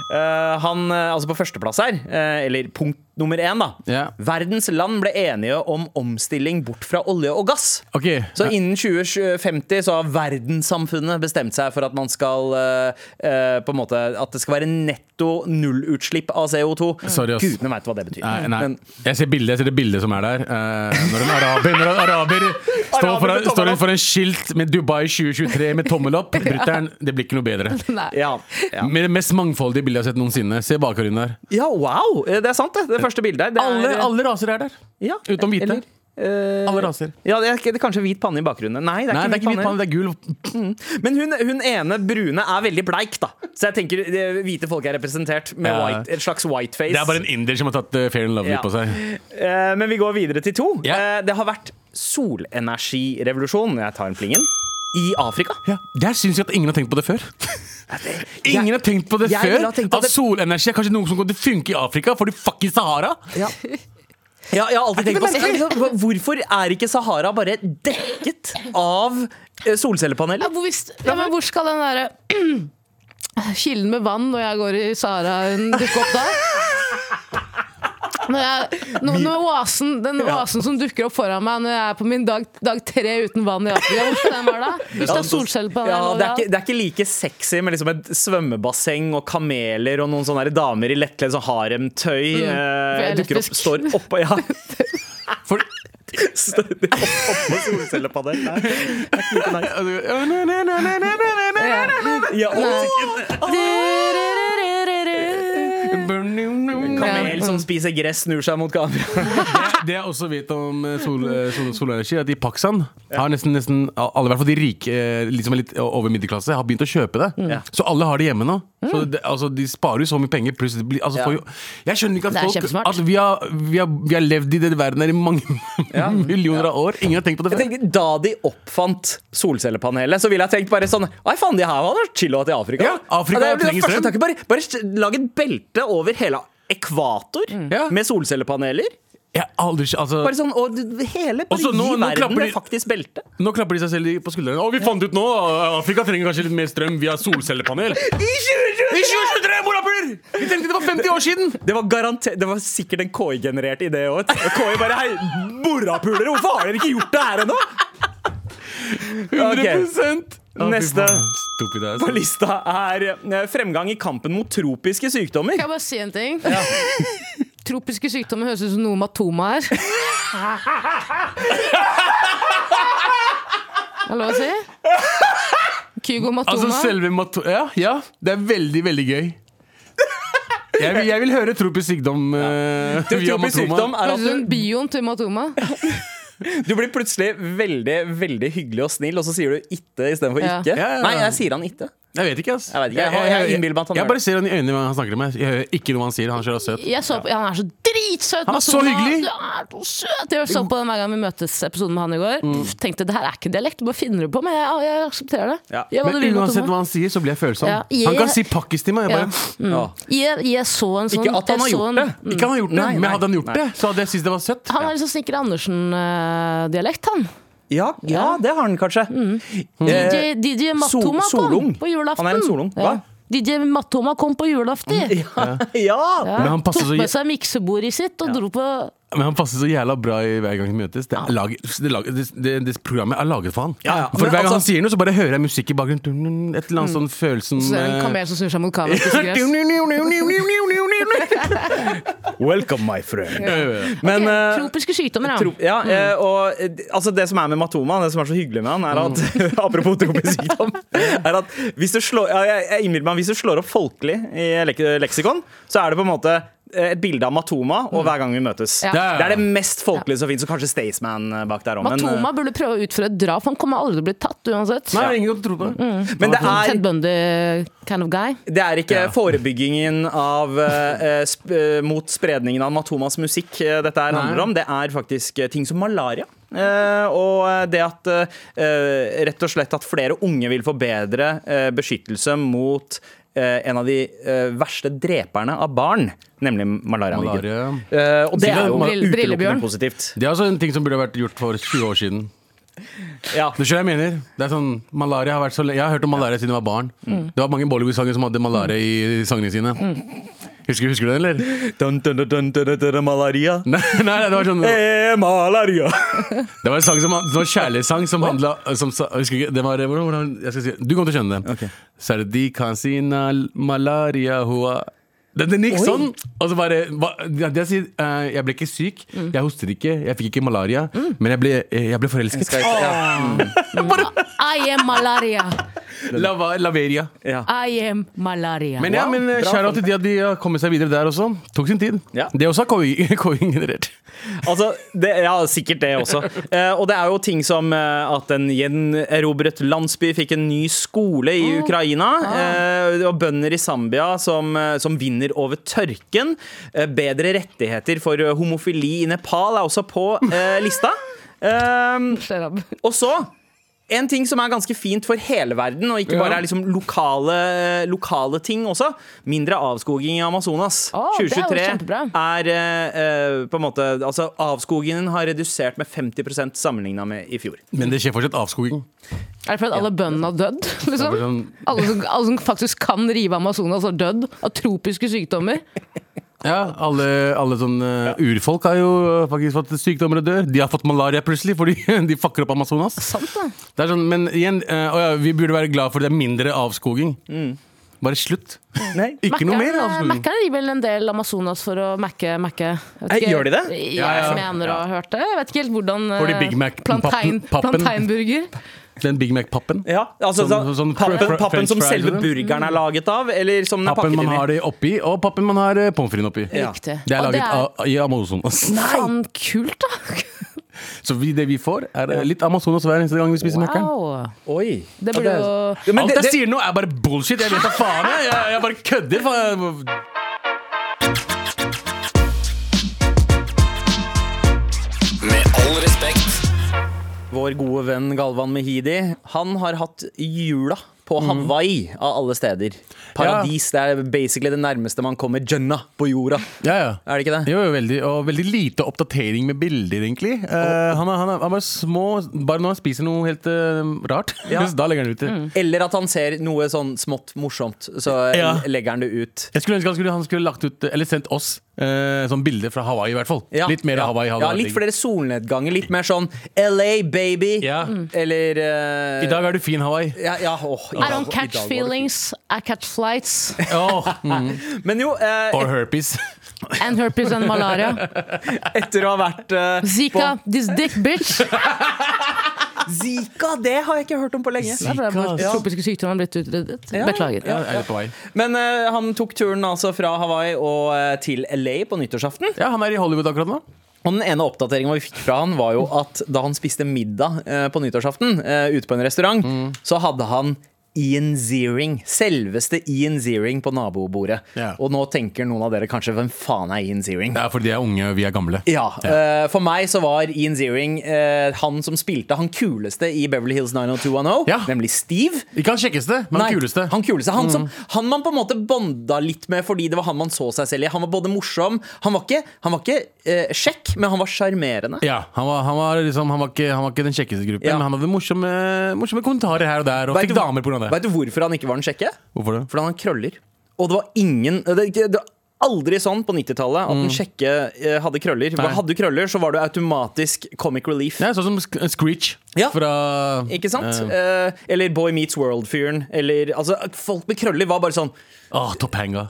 S2: Eh, han, eh, altså På førsteplass her, eh, eller punkt nummer én, da.
S3: Ja.
S2: Verdens land ble enige om omstilling bort fra olje og gass.
S3: Ok,
S2: Så innen 2050 så har verdenssamfunnet bestemt seg for at man skal eh, eh, På en måte At det skal være netto nullutslipp av CO2.
S3: Mm. Sorry, ass.
S2: Gudene veit hva det betyr.
S3: Nei, nei.
S2: Men
S3: Jeg ser bildet, jeg ser det bildet som er der. Eh, når en araber, når en araber står,
S2: Araber
S3: foran,
S2: med tommel
S3: står
S2: opp.
S3: foran skilt med Dubai 2023 med tommel opp, bryteren, det blir ikke noe bedre.
S2: ja, ja.
S3: Med det mest mangfoldige bildet jeg har sett noensinne. Se bakgrunnen der.
S2: ja, wow! Eh, Det er sant, det. Det første bildet her. Det
S3: Alle,
S2: er,
S3: alle raser er der.
S2: ja,
S3: Utenom hvite.
S2: eller, eh,
S3: Alle raser.
S2: Ja, det er, ikke- det er kanskje hvit panne i bakgrunnen. Nei, det er
S3: Nei, det er
S2: ikke
S3: ikke
S2: hvit
S3: hvit
S2: panne.
S3: panne,
S2: Mm.
S3: det er gul.
S2: Men hun, hun ene brune er veldig bleik, da. Så jeg tenker eh, hvite folk er representert med
S3: Ja.
S2: white, et slags whiteface.
S3: Det er bare en inder som har tatt eh, Fair and Lovely
S2: Ja.
S3: på seg.
S2: Eh, Men vi går videre til to.
S3: Ja.
S2: Eh, Det har vært solenergirevolusjon. Jeg tar en plingen. I Afrika.
S3: Ja, Der syns jeg at ingen har tenkt på det før. Ingen har tenkt på det
S2: Jeg ville
S3: før!
S2: ha tenkt på
S3: At
S2: det-
S3: solenergi er kanskje noe som kan funke i Afrika, for du fucking Sahara!
S2: Ja, jeg har alltid tenkt på sånn, Hvorfor er ikke Sahara bare dekket av eh, solcellepaneler?
S4: Hvor, visst, ja, men hvor skal den derre kilden med vann når jeg går i Saharaen, dukke opp da? Når, jeg, når, når oasen, den oasen som dukker opp foran meg når jeg er på min dag, dag tre uten vann i Afrika, hvor skal den være da? Hvis det er solcellepanel
S2: altså, Ja, det, er
S4: overalt.
S2: ikke, det er ikke like sexy med liksom et svømmebasseng og kameler og noen sånne der damer i lettkledd sånn haremtøy. eh,
S4: Mm. for jeg er
S2: dukker opp,
S4: lesbisk.
S2: står oppå ja,
S3: For
S2: står opp, opp med solcellepanel. Nei, det er ikke like nice. Ja, og kamel som spiser gress, snur seg mot kamera.
S3: Det jeg også vet om eh, sol, eh, sol, solenergi, er at i Pakistan har nesten, nesten alle, i hvert fall de rike, eh, litt som er litt over middelklasse, har begynt å kjøpe det.
S2: Ja.
S3: Så alle har det hjemme nå. Så det, altså, de sparer jo så mye penger. Pluss det blir, altså,
S2: Ja.
S3: får jo, jeg skjønner ikke
S4: Det er
S3: at folk
S4: kjempesmart.
S3: at vi, har, vi, har, vi har levd i den verden her i mange millioner av år. Ingen har tenkt på det
S2: Jeg
S3: før.
S2: tenker, Da de oppfant solcellepanelet, så ville jeg tenkt bare sånn Nei, faen, de her var da chill å ha til Afrika. Altså,
S3: Ja, Afrika
S2: det er det
S3: trenger
S2: første
S3: strøm.
S2: tanken. Bare, bare lag et belte over hele ekvator
S3: Mm. Ja.
S2: med solcellepaneler.
S3: Jeg har aldri, altså,
S2: Bare sånn, og d- Hele bare
S3: Også nå-
S2: gi
S3: nå klapper
S2: verden
S3: de-
S2: et faktisk belte.
S3: nå klapper de seg selv i- på skuldrene. Å, vi fant ut nå! uh, Afrika trenger kanskje litt mer strøm via solcellepanel. I 2023, morapuler! Vi tenkte det var 50 år siden!
S2: Det var, garante- det var sikkert en KI-generert idé òg. KI bare Hei, morapulere, hvorfor har dere ikke gjort det her ennå?
S3: 100 Å, fy
S2: Neste.
S3: faen. Stupid ass.
S2: På lista er eh, fremgang i kampen mot tropiske sykdommer.
S4: Kan jeg bare si en ting? Tropiske sykdommer høres ut som noe med atoma her. Er det lov å si? Kygo
S3: Altså
S4: Matoma.
S3: selve mato... Ja, ja, det er veldig, veldig gøy. Jeg vil, jeg vil høre tropisk sykdom eh, via
S2: Tropisk sykdom
S3: matoma.
S2: er at
S4: Høres
S2: du
S4: ut som bioen til Matoma.
S2: Du blir plutselig veldig veldig hyggelig og snill, og så sier du itte istedenfor
S4: Ja.
S2: ikke.
S3: Ja, ja, ja.
S2: Nei, jeg sier han itte.
S3: Jeg vet ikke, ass.
S2: Jeg vet ikke, jeg har- jeg innbiller meg at han
S3: jeg
S2: gjør
S3: bare
S2: det.
S3: ser han i øynene når han snakker med meg. Jeg hører ikke noe han sier. Han ser søt.
S4: Jeg så på, ja, han er så dritsøt!
S3: Han er så
S4: Matoma.
S3: hyggelig.
S4: Du er så søt! Jeg så på den hver gang vi møtes episoden med han i går.
S2: Mm.
S4: Tenkte det her er ikke en dialekt, du bare finner det på, men jeg, jeg aksepterer det.
S2: Ja.
S4: Gjør hva du
S3: Men
S4: vil,
S3: uansett
S4: Matoma.
S3: hva han sier, så blir jeg følsom.
S4: Ja, jeg-
S3: Han kan si pakkis til meg. Jeg bare,
S2: Ja.
S4: Jeg, jeg så en sånn
S2: Ikke at han har
S4: jeg så
S2: gjort
S4: en- Mm.
S2: det.
S3: Ikke han har gjort det,
S2: Nei, nei,
S3: men hadde han gjort
S2: nei.
S3: det, så hadde jeg syntes det var søtt.
S4: Han har liksom Snikker Andersen-dialekt, han.
S2: Ja, ja,
S4: Ja.
S2: det har han kanskje. Mm.
S4: DJ, DJ Matoma
S2: Sol-
S4: kom
S2: Eh, Solung.
S4: på julaften.
S2: Han er en solung. Hva? Mm,
S4: Ja. DJ Matoma kom på julaften.
S2: Ja. ja.
S4: Ja.
S3: Men han passer
S4: Tok
S3: så-
S4: med seg miksebordet sitt og dro på
S3: Men han passer så jævla bra i hver gang vi møtes. Det, er laget, det, er laget, det, det, det programmet er laget for han.
S2: Ja, ja.
S3: For
S2: Men
S3: hver gang
S2: altså-
S3: han sier noe, så bare hører jeg musikk i bakgrunnen. Et eller annet sånn følelsen
S4: Så er det en
S3: eh,
S4: kamel som snur seg mot kameraet. og spiser gress.
S2: Welcome, my friend. Men eh,
S4: Tropiske sykdommer, ja.
S2: tro, ja, eh, og eh, altså det som er med Matoma, det som er så hyggelig med han, er at Apropos tropisk sykdom. Er at hvis du slår, ja, jeg jeg innbiller meg hvis du slår opp 'folkelig' i lek leksikon, så er det på en måte eh, et bilde av Matoma og hver gang vi møtes.
S4: Ja.
S2: Det er det mest folkelige som fins, og kanskje Staysman eh, bak der òg.
S4: Matoma burde prøve å utføre et drap. Han kommer aldri til å bli tatt uansett.
S3: Nei, ingen kan tro på det.
S4: Mm.
S2: Men det er,
S4: Ted Bundy kind of guy.
S2: det er ikke forebyggingen av, eh, sp eh, mot spredningen av Matomas musikk eh, dette her handler om. Det er faktisk eh, ting som malaria. Eh, og det at eh, eh, rett og slett at flere unge vil få bedre eh, beskyttelse mot eh, en av de eh, verste dreperne av barn, nemlig malariaen.
S3: Malaria.
S2: Eh, og det er jo
S4: Brille-
S2: utelukkende
S4: brillebjørn.
S2: positivt.
S3: Det er også en ting som burde vært gjort for 20 år siden.
S2: Ja.
S3: Du skjønner hva jeg mener? Det er sånn, malaria har vært
S4: Mm.
S3: så lenge Jeg har hørt om malaria siden jeg var barn. Det var mange Bollywood-sanger som hadde malaria i sangene sine. Husker, husker du den, eller?
S2: Dun, dun, dun, dun, dun, dun, malaria.
S3: Nei, nei, det var sånn
S2: Eh, malaria.
S3: Det var en sang som, det var en kjærlighetssang som handla som, sa- jeg husker ikke, det var, hvordan, hvordan, jeg skal si, Du kommer til å skjønne det.
S2: Ok.
S3: Sardi kansina malaria hua den, den gikk sånn! Og så bare hva- ja, det jeg, sier, eh, jeg ble ikke syk,
S2: Mm.
S3: jeg hostet ikke, jeg fikk ikke malaria, men jeg ble, eh, jeg ble forelsket.
S2: Skal Mm. jeg- ja.
S4: I am malaria.
S3: Lava, laveria.
S4: I am malaria.
S3: Men ja,
S2: Wow,
S3: men
S2: bra
S3: kjære til de at de har kommet seg videre der også. Tok sin tid.
S2: Ja.
S3: Det også har KI KI generert.
S2: Altså, det, ja, sikkert det også. Eh, og det er jo ting som eh, at en gjenerobret landsby fikk en ny skole i Ukraina. Eh, og bønder i Zambia som, eh, som vinner over tørken. Eh, bedre rettigheter for eh, homofili i Nepal er også på eh, lista. Eh, og så en ting som er ganske fint for hele verden, og ikke
S3: Ja.
S2: bare er liksom lokale, lokale ting også. Mindre avskoging i Amazonas.
S4: Å, det er jo
S2: 2023
S4: kjempebra.
S2: er eh, eh, på en måte Altså, avskogingen har redusert med 50 sammenligna med i fjor.
S3: Men det skjer fortsatt
S2: Mm.
S3: avskoging.
S4: Er det fordi alle bøndene har dødd? Liksom?
S3: Det er sånn-
S4: Alle, som, alle som faktisk kan rive Amazonas, har dødd av tropiske sykdommer.
S3: Ja, alle, alle sånne eh, urfolk har jo eh, faktisk fått sykdommer og dør. De har fått malaria plutselig fordi de fucker opp Amazonas.
S4: Sant da
S3: Det er sånn, men igjen, eh, å ja, vi burde være glad for det er mindre avskoging.
S2: Mm.
S3: Bare slutt.
S2: Nei.
S3: Ikke noe mer altså, avskoging.
S4: Mac-er gir vel en del Amazonas for å Mac-e. Mac-e. Jeg vet
S2: Nei,
S4: ikke-
S2: gjør de det?
S4: Jeg
S3: Ja, ja.
S4: mener å ha hørt det. Jeg vet ikke helt hvordan eh,
S3: Får de Big Mac-pappen-
S4: plantein,
S3: pappen?
S4: Planteinburger.
S3: Den Big Mac-pappen.
S2: Ja, altså
S3: Som-
S2: sånn,
S3: sånn fr-
S2: pappen,
S3: fr-
S2: pappen
S3: french
S2: som
S3: fries
S2: selve
S3: og det?
S2: burgeren er laget av, eller som den er
S3: Pappen
S2: pakket
S3: man
S2: inn i.
S3: har det oppi, og pappen man har eh, pommes frites oppi.
S2: Ja.
S4: Riktig.
S3: Det er
S4: Og
S3: laget
S4: er
S3: av- i Amazonas.
S4: faen kult, da!
S3: Så vi, det vi får, er eh, litt Amazonas hver eneste gang vi spiser Mac-en.
S4: Wow.
S2: Oi.
S4: Det blir jo
S2: Ja, men
S3: Alt
S2: det,
S3: jeg
S2: det,
S3: sier nå, er bare bullshit. Jeg vet da faen. Jeg, jeg, jeg bare kødder. faen.
S7: Med all respekt.
S2: vår gode venn Galvan Mehidi, han har hatt jula på
S3: Mm.
S2: Hawaii, av alle steder. Paradis. Det er basically det nærmeste man kommer Jannah på jorda.
S3: Ja, ja.
S2: Er det ikke det?
S3: Jo, jo, veldig, og veldig lite oppdatering med bilder, egentlig. Eh, han, er, han, er, han er bare små Bare når han spiser noe helt eh, rart,
S2: Ja. Mm.
S3: da legger han ut det.
S2: Eller at han ser noe sånn smått morsomt, så
S3: Ja.
S2: legger han det ut.
S3: Jeg skulle ønske han skulle, han skulle lagt ut, eller sendt oss eh, sånn bilde fra Hawaii, i hvert fall.
S2: Ja,
S3: Litt mer
S2: ja.
S3: Hawaii. hadde
S2: Ja,
S3: vært
S2: litt
S3: digg.
S2: flere solnedganger. Litt mer sånn LA, baby.
S3: Ja. Mm.
S2: Eller eh,
S3: I dag er du fin, Hawaii.
S2: ja, ja, åh, i
S4: I
S2: dag- i
S4: don't
S2: dag
S4: catch
S2: var det
S4: feelings, I catch flights.
S3: Åh, mm.
S2: fint. Men jo, eh,
S3: Or herpes.
S4: And herpes and malaria.
S2: etter å ha vært eh,
S4: Zika, this dick bitch.
S2: på Zika, det har jeg ikke hørt om på lenge.
S4: Det er bra, hvor
S2: Ja.
S4: Tropiske sykdommer har blitt utryddet. Beklager.
S3: Ja, jeg er på vei.
S2: Men eh, han tok turen altså fra Hawaii og eh, til LA på nyttårsaften.
S3: ja, han er i Hollywood akkurat nå.
S2: Og den ene oppdateringen vi fikk fra han var jo at da han spiste middag eh, på nyttårsaften eh, ute på en restaurant,
S3: Mm.
S2: så hadde han Ian Ziering. Selveste Ian Ziering på nabobordet.
S3: Ja.
S2: Og nå tenker noen av dere kanskje hvem faen er Ian Ziering?
S3: Det er fordi de er unge, og vi er gamle.
S2: Ja, eh, For meg så var Ian Ziering eh, han som spilte han kuleste i Beverly Hills 90210,
S3: Ja.
S2: nemlig Steve.
S3: Ikke han kjekkeste, men
S2: Nei,
S3: han kuleste. Mm.
S2: Han, kuleste. han, som, han man på en måte bonda litt med fordi det var han man så seg selv i. Han var både morsom Han var ikke, han var ikke eh, kjekk, men han var sjarmerende.
S3: Ja, han var, han, var liksom, han, var ikke, han var ikke den kjekkeste gruppen,
S2: Ja.
S3: men han hadde morsomme, morsomme kommentarer her og der, og
S2: Vet du-
S3: fikk damer pga. det.
S2: Vet du hvorfor han ikke var den kjekke?
S3: Hvorfor det?
S2: Fordi han har krøller. Og det var ingen Det, det det var aldri sånn på 90-tallet at den kjekke eh, hadde krøller.
S3: Mm. Nei.
S2: Hadde du krøller, så var du automatisk comic relief.
S3: Ja, sånn som Sk- Screech
S2: Ja.
S3: fra
S2: Ikke sant?
S3: Eh,
S2: Eh, eller Boy Meets World-fyren. Eller altså, Folk med krøller var bare sånn
S3: Åh, Topanga.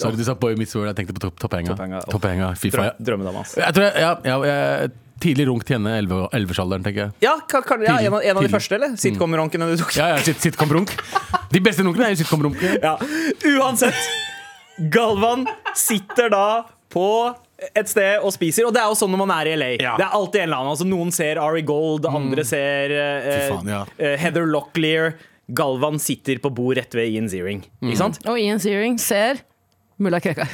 S3: Sorry, du sa Boy Meets World. Jeg tenkte på top, Topanga.
S2: Topanga, åh.
S3: Topanga, fy
S2: drø
S3: faen. Jeg,
S2: Drømmedama. ass.
S3: jeg tror jeg, ja, ja, jeg tidlig runk til henne, 11 elversalderen, tenker jeg.
S2: Ja, ka- kan, ja, en av, en av de
S3: Tidlig.
S2: første, eller? Sitcom-ronkene du tok.
S3: Mm. Ja, ja, sit, sitcom-runk. De beste runkene er jo sitcom-runkene.
S2: Ja. Uansett, Galvan sitter da på et sted og spiser. Og det er jo sånn når man er i LA.
S3: Ja. Mm.
S2: Det er alltid en eller annen. Altså, noen ser Ari Gold, andre ser eh,
S3: Fy faen, ja.
S2: eh, Heather Locklear. Galvan sitter på bord rett ved Ian Ziering.
S3: Mm.
S2: Ikke sant?
S4: Og Ian Searing ser mulla Krekar.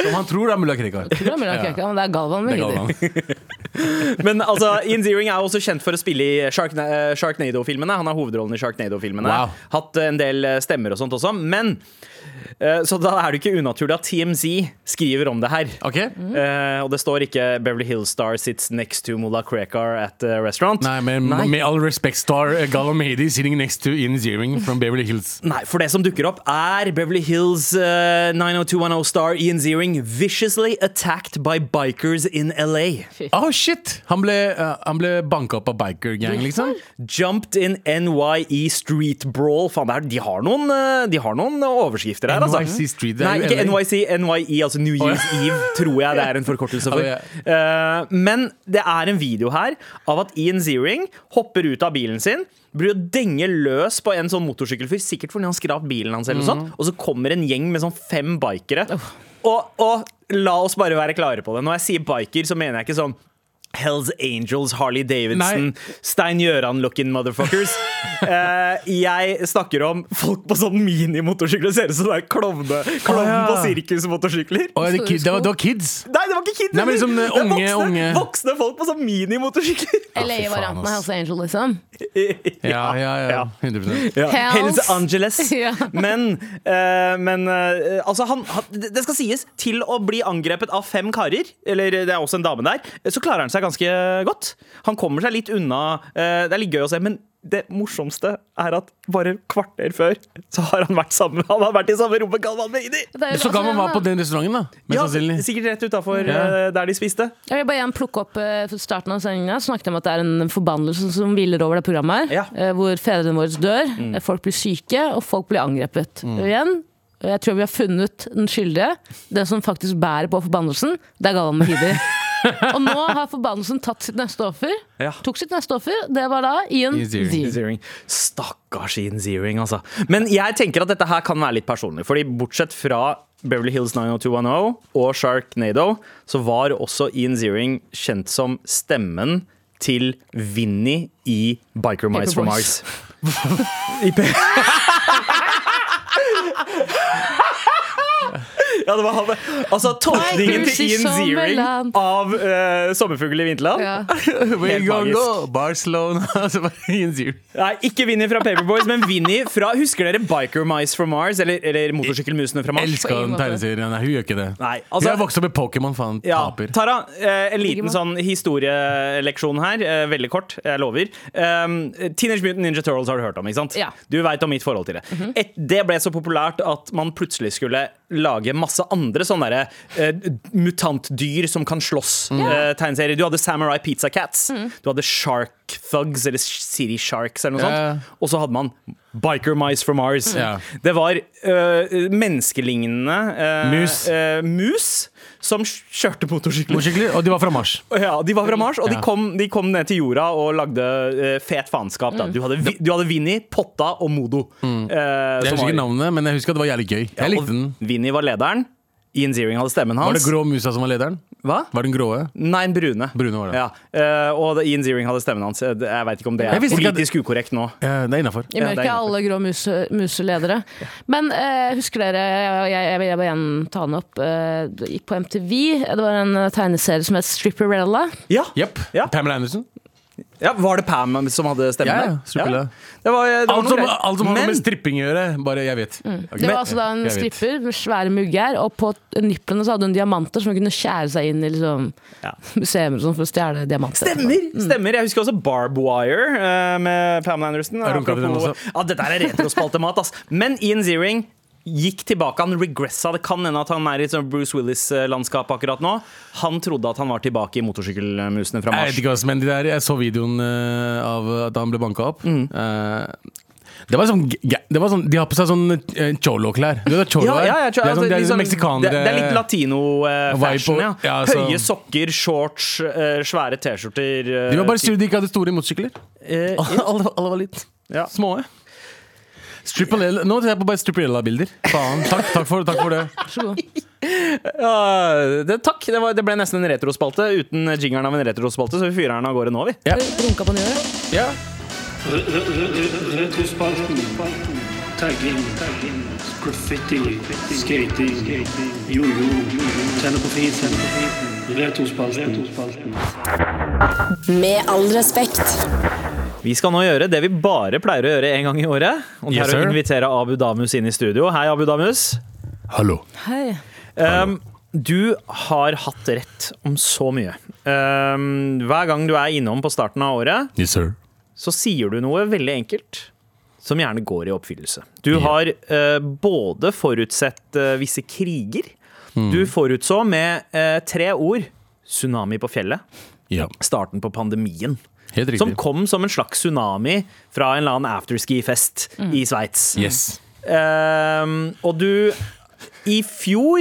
S3: Som han tror det er mulla Krekar.
S4: Det er mulla Krekar, men det er
S3: Det
S4: Galvan med
S3: er
S4: Hidi.
S3: Galvan.
S2: Men altså, Ian Ziering er jo også kjent for å spille i Sharkna eh, Sharknado-filmene. Han har hovedrollen i Sharknado-filmene.
S3: Wow.
S2: Hatt eh, en del eh, stemmer og sånt også. Men Eh, Så da er det ikke unaturlig at TMZ skriver om det her.
S3: Ok?
S2: Eh, og det står ikke 'Beverly Hills Star sits next to Mullah Krekar at a restaurant'.
S3: Nei, men
S2: Nei.
S3: med all respect, star eh, Gala Mahdi sitting next to Ian Ziering from Beverly Hills.
S2: Nei, for det som dukker opp er Beverly Hills eh, 90210 star Ian Ziering viciously attacked by bikers in LA.
S3: Oh shit! Han ble, eh, han ble banka opp av biker gang, liksom.
S2: Jumped in NYE street brawl. Faen, det er, de, har noen, eh, de har noen overskrifter her, altså.
S3: NYC street, det er
S2: Nei,
S3: jo
S2: ikke
S3: LA.
S2: NYC. NYE, altså New Year's Eve, tror jeg det er en forkortelse for.
S3: Å, ja.
S2: Eh, men det er en video her av at Ian Ziering hopper ut av bilen sin. Blir å denge løs på en sånn motorsykkelfyr, sikkert fordi han skrap bilen hans. eller noe
S3: Mhm.
S2: sånt Og så kommer en gjeng med sånn fem bikere. Og, og la oss bare være klare på det. Når jeg sier biker, så mener jeg ikke sånn Hells Angels, Harley Davidson,
S3: Nei.
S2: Stein Gjøran-looking motherfuckers. Eh, jeg snakker om folk på sånn minimotorsykler. Ser ut som det er klovne Klovn
S3: Å, ja.
S2: på sirkusmotorsykler.
S3: Å, er det, kid, det, var, det var kids!
S2: Nei, det var ikke kids!
S3: Nei, men liksom,
S2: heller. Det er
S3: unge-
S2: voksne,
S3: unge.
S2: voksne folk på sånn minimotorsykler.
S4: LA-varianten av
S3: ass.
S4: Hells Angel, liksom.
S3: Ja, ja, ja. 100
S2: Ja.
S4: Hells.
S2: Hells Angeles.
S4: Ja.
S2: Men, eh, men eh, altså han, han, det det skal sies, til å bli angrepet av fem karer, eller det er også en dame der, eh, så klarer han seg ganske godt. Han kommer seg litt unna. eh, Det er litt gøy å se, men det morsomste er at bare kvarter før så har han vært sammen Han har vært i samme rom med Galvan Mehidi!
S4: Det er jo-
S3: Så gammel
S4: altså,
S3: man var på den restauranten, da. Mest
S2: Ja,
S3: sannsynlig.
S2: sikkert rett utafor
S3: Ja.
S2: der de spiste.
S4: Jeg vil bare igjen plukke opp eh, for starten av sendinga. Snakket om at det er en forbannelse som hviler over det programmet her.
S2: Ja. Mm.
S4: eh, Hvor fedrene våre dør, eh, folk blir syke, og folk blir angrepet. Og igjen, eh, jeg tror vi har funnet den skyldige. Den som faktisk bærer på forbannelsen, det er Galvan Mehidi. og nå har forbannelsen tatt sitt neste offer.
S2: Ja.
S4: Tok sitt neste offer, det var da Ian
S3: Ian Ziering.
S4: Ziering.
S2: Ziering. Stakkars Ian Ziering, altså. Men jeg tenker at dette her kan være litt personlig. Fordi bortsett fra Beverly Hills 90210 og Sharknado, så var også Ian Ziering kjent som stemmen til Vinny i Biker Mice
S4: Paper
S2: from Mars.
S4: Boys.
S2: I P- Ja, det var han. Altså, tolkningen
S4: Bikers i
S2: til Ian Ziering
S4: sommerland.
S2: av uh, Sommerfugl i vinterland
S4: Ja.
S3: We're gonna
S2: magisk. altså,
S3: go Barcelona Så bare Ian Ziering.
S2: Nei, ikke Vinny fra Paperboys, men Vinny fra Husker dere Biker Mice from Mars? Eller, eller Motorsykkelmusene fra Mars?
S3: Elska den tegneserien. Nei, hun gjør ikke det.
S2: Nei, altså-
S3: Hun har vokst opp med Pokémon, faen.
S2: Ja,
S3: Taper.
S2: Tara, eh, en liten sånn historieleksjon her. Eh, veldig kort, jeg lover. Um, Teenage Mutant Ninja Turtles har du hørt om, ikke sant?
S4: Ja.
S2: Du veit om mitt forhold til det. Et, det ble så populært at man plutselig skulle lage masse andre sånne derre eh, mutantdyr som kan slåss. Eh, tegneserier. Du hadde Samurai Pizza Cats. Du hadde Shark Thugs, eller City Sharks, eller noe
S3: Ja.
S2: sånt. Og så hadde man Biker Mice from Mars.
S3: Ja.
S2: Det var eh, menneskelignende eh,
S3: Mus.
S2: eh, mus som kjørte motorsykler.
S3: Motorsykler, og de var fra Mars.
S2: Ja, De var fra Mars, og de
S3: Ja.
S2: kom, de kom ned til jorda og lagde eh, fet faenskap.
S3: Mm.
S2: da. Du hadde, Vi- du hadde Vinni, Potta og Modo. eh, som
S3: Jeg husker ikke
S2: var-
S3: navnet, men jeg husker at det var jævlig gøy. Jeg likte den.
S2: og Vinni var lederen. Ian Ziering hadde stemmen
S3: Var
S2: hans.
S3: det grå musa som var lederen?
S2: Hva?
S3: Var den gråe?
S2: Nei, den brune.
S3: Brune var det.
S2: Ja. eh, og det- Ian Ziering hadde stemmen hans. Eh, det- Jeg veit ikke om det er
S3: Jeg visste ikke at-
S2: politisk ukorrekt nå.
S3: Eh, det er innafor.
S4: I
S2: Ja, det er
S4: mørket er alle grå muse, museledere. Men eh, husker dere, jeg, jeg, jeg vil bare igjen ta den opp, eh, det gikk på MTV. Det var en eh, tegneserie som het Stripperella.
S2: Ja.
S3: Jepp.
S2: Ja.
S3: Pamela Anderson.
S2: ja, Var det Pam som hadde stemmen?
S3: Ja, ja,
S2: der?
S3: stripper det.
S2: Det var, eh, det var
S3: Alt
S2: noe
S3: som,
S2: greier.
S3: alt som har noe
S2: Men-
S3: med stripping å gjøre. Bare jeg vet. Ok.
S4: Det var altså da en
S3: Jeg vet.
S4: stripper med svære mugger, og på nipplene så hadde hun diamanter som hun kunne skjære seg inn i liksom,
S2: Ja.
S4: museum og sånn for å stjele diamanter.
S2: Stemmer!
S3: Mm.
S2: stemmer Jeg husker også Barb Wire eh, med Pamela Anderson.
S3: Jeg runka til den
S2: Apropos-
S3: også.
S2: Ja, dette her er retrospaltemat, ass. Men Ian Ziering gikk tilbake. Han regressa. Det kan hende at han er i et sånt Bruce Willis-landskap akkurat nå. Han trodde at han var tilbake i motorsykkelmusene fra
S3: Jeg
S2: Mars.
S3: vet ikke hva som hendte der. Jeg så videoen eh, av at han ble banka opp.
S2: Mm.
S3: Eh, det var sånn, g- det var sånn De har på seg sånn eh, cholo-klær. Du vet hva cholo
S2: Ja,
S3: er?
S2: ja, jeg tror-
S3: det er sånn, det
S2: litt
S3: er sånn
S2: sånn- det,
S3: meksikanere
S2: det er litt latino-fashion.
S3: Vibe
S2: ja.
S3: og- ja, altså- så-
S2: Høye sokker, shorts, eh, svære T-skjorter. eh,
S3: De var bare sure de ikke hadde store motorsykler.
S2: eh,
S3: alle, alle var litt
S2: ja.
S3: små. Stripperella- Nå ser jeg på bare stripperella-bilder. Faen. Takk, takk, for, takk for det.
S2: Ja, det, takk. Det, var, det ble nesten en retrospalte uten jingeren av en retrospalte, så vi fyrer den av gårde nå, vi.
S4: Runka på nyåret.
S8: Retrospalten. Tagging. Graffiti. Skating. Jojo. Tenner på fisen. Retrospalten.
S5: Med all respekt.
S2: Vi skal nå gjøre det vi bare pleier å gjøre en gang i året. Og det
S3: Yes,
S2: er å
S3: sir.
S2: invitere Abu Damus inn i studio. Hei, Abu Damus.
S3: Hallo.
S1: Hei.
S2: Um, du har hatt rett om så mye. Um, hver gang du er innom på starten av året,
S3: Yes, sir.
S2: så sier du noe veldig enkelt som gjerne går i oppfyllelse. Du har eh, både forutsett eh, visse kriger.
S3: Mm.
S2: Du forutså med eh, tre ord tsunami på fjellet,
S3: Ja,
S2: starten på pandemien.
S3: helt riktig.
S2: Som kom som en slags tsunami fra en eller annen afterski-fest i Sveits.
S3: Mm. Yes.
S2: Ehm, og du I fjor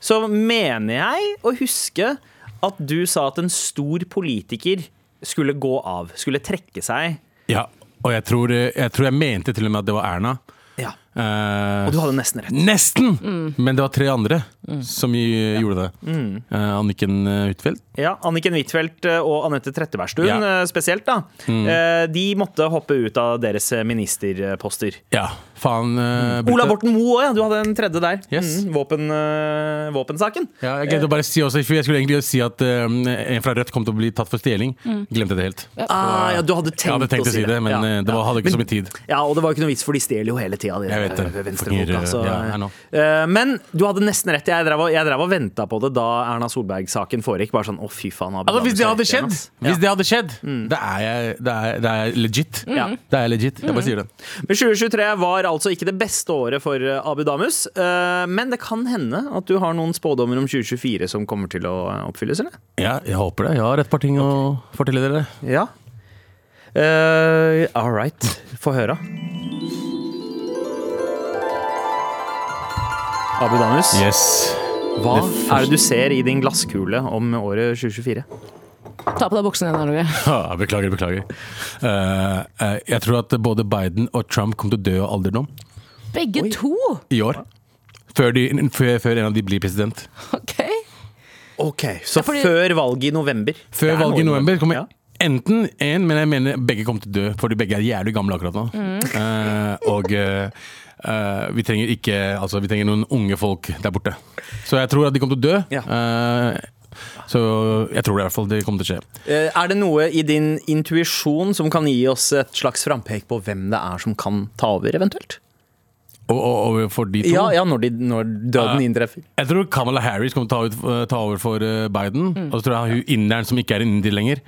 S2: så mener jeg å huske at du sa at en stor politiker skulle gå av. Skulle trekke seg.
S3: Ja, og jeg tror, eh, jeg tror jeg mente til og med at det var Erna.
S2: Ja.
S3: Eh,
S2: Og du hadde nesten rett.
S3: Nesten! Men det var tre andre som i- gjorde det. Eh, Anniken eh, Huitfeldt.
S2: Ja, Anniken Huitfeldt eh, og Anette Trettebergstuen
S3: Ja. Mm.
S2: eh, spesielt, da. Eh, De måtte hoppe ut av deres eh, ministerposter.
S3: Ja, faen. eh, brukte-
S2: Ola Borten Moe òg, ja. Du hadde en tredje der.
S3: Yes.
S2: Mm, våpen, eh, våpensaken.
S3: Ja, jeg glemte å bare si også, for jeg skulle egentlig si at eh, en fra Rødt kom til å bli tatt for stjeling. Glemte det helt.
S2: Ah, ja, du hadde tenkt,
S3: Jeg hadde tenkt Mm. å si det, men
S2: Ja,
S3: eh, det var,
S2: ja.
S3: hadde ikke så
S2: Men-
S3: mye tid.
S2: Ja, og det var jo ikke noe vits, for de stjeler jo hele tida. de
S3: Jeg vet
S2: der
S3: det.
S2: venstrefolka,
S3: Fucking,
S2: så-
S3: ja, I know.
S2: Eh, Men du hadde nesten rett. Jeg drev, og- jeg drev og venta på det da Erna Solberg-saken foregikk. Bare sånn, å fy faen Abu
S3: Altså,
S2: Dhabi
S3: hvis det hadde
S2: skal
S3: skjedd, Mm.
S2: hjem, ass.
S3: hvis det hadde skjedd, da er jeg, da er, da er jeg legit.
S2: Ja.
S3: Da er jeg legit. Jeg bare sier det.
S2: Men 2023 var altså ikke det beste året for eh, Abu Damus. eh, Men det kan hende at du har noen spådommer om 2024 som kommer til å eh, oppfylles, eller?
S3: Ja, jeg håper det. Jeg har et par ting å fortelle dere.
S2: Ja. Uh, all right. Få høre. Abu Damus,
S3: Yes.
S2: hva
S3: det
S2: er det du ser i din glasskule om året 2024?
S4: Ta på deg buksen igjen, Arnold.
S3: Ah, Beklager, beklager. Eh, eh, jeg tror at både Biden og Trump kommer til å dø av alderdom
S4: Begge to!
S3: i år. Før, de, før, før en av de blir president.
S4: Ok.
S2: Ok, Så
S4: fordi-
S2: før valget i november. Det
S3: Før
S2: er
S3: valget i
S2: noe
S3: november kommer
S2: Ja.
S3: enten én, men jeg mener begge kommer til å dø, fordi begge er jævlig gamle akkurat nå.
S2: Mm.
S3: Eh, og eh, eh, vi trenger ikke Altså, vi trenger noen unge folk der borte. Så jeg tror at de kommer til å dø.
S2: Ja.
S3: Eh, så jeg tror det i hvert fall det kommer til å skje.
S2: Eh, Er det noe i din intuisjon som kan gi oss et slags frampek på hvem det er som kan ta over, eventuelt?
S3: Og, og, og for de to
S2: Ja, ja når, de, når døden
S3: Ja.
S2: inntreffer.
S3: Jeg tror Kamala Harris kommer til å ta, ut, ta over for eh, Biden. Og så tror jeg hun inderen som ikke er en indier lenger.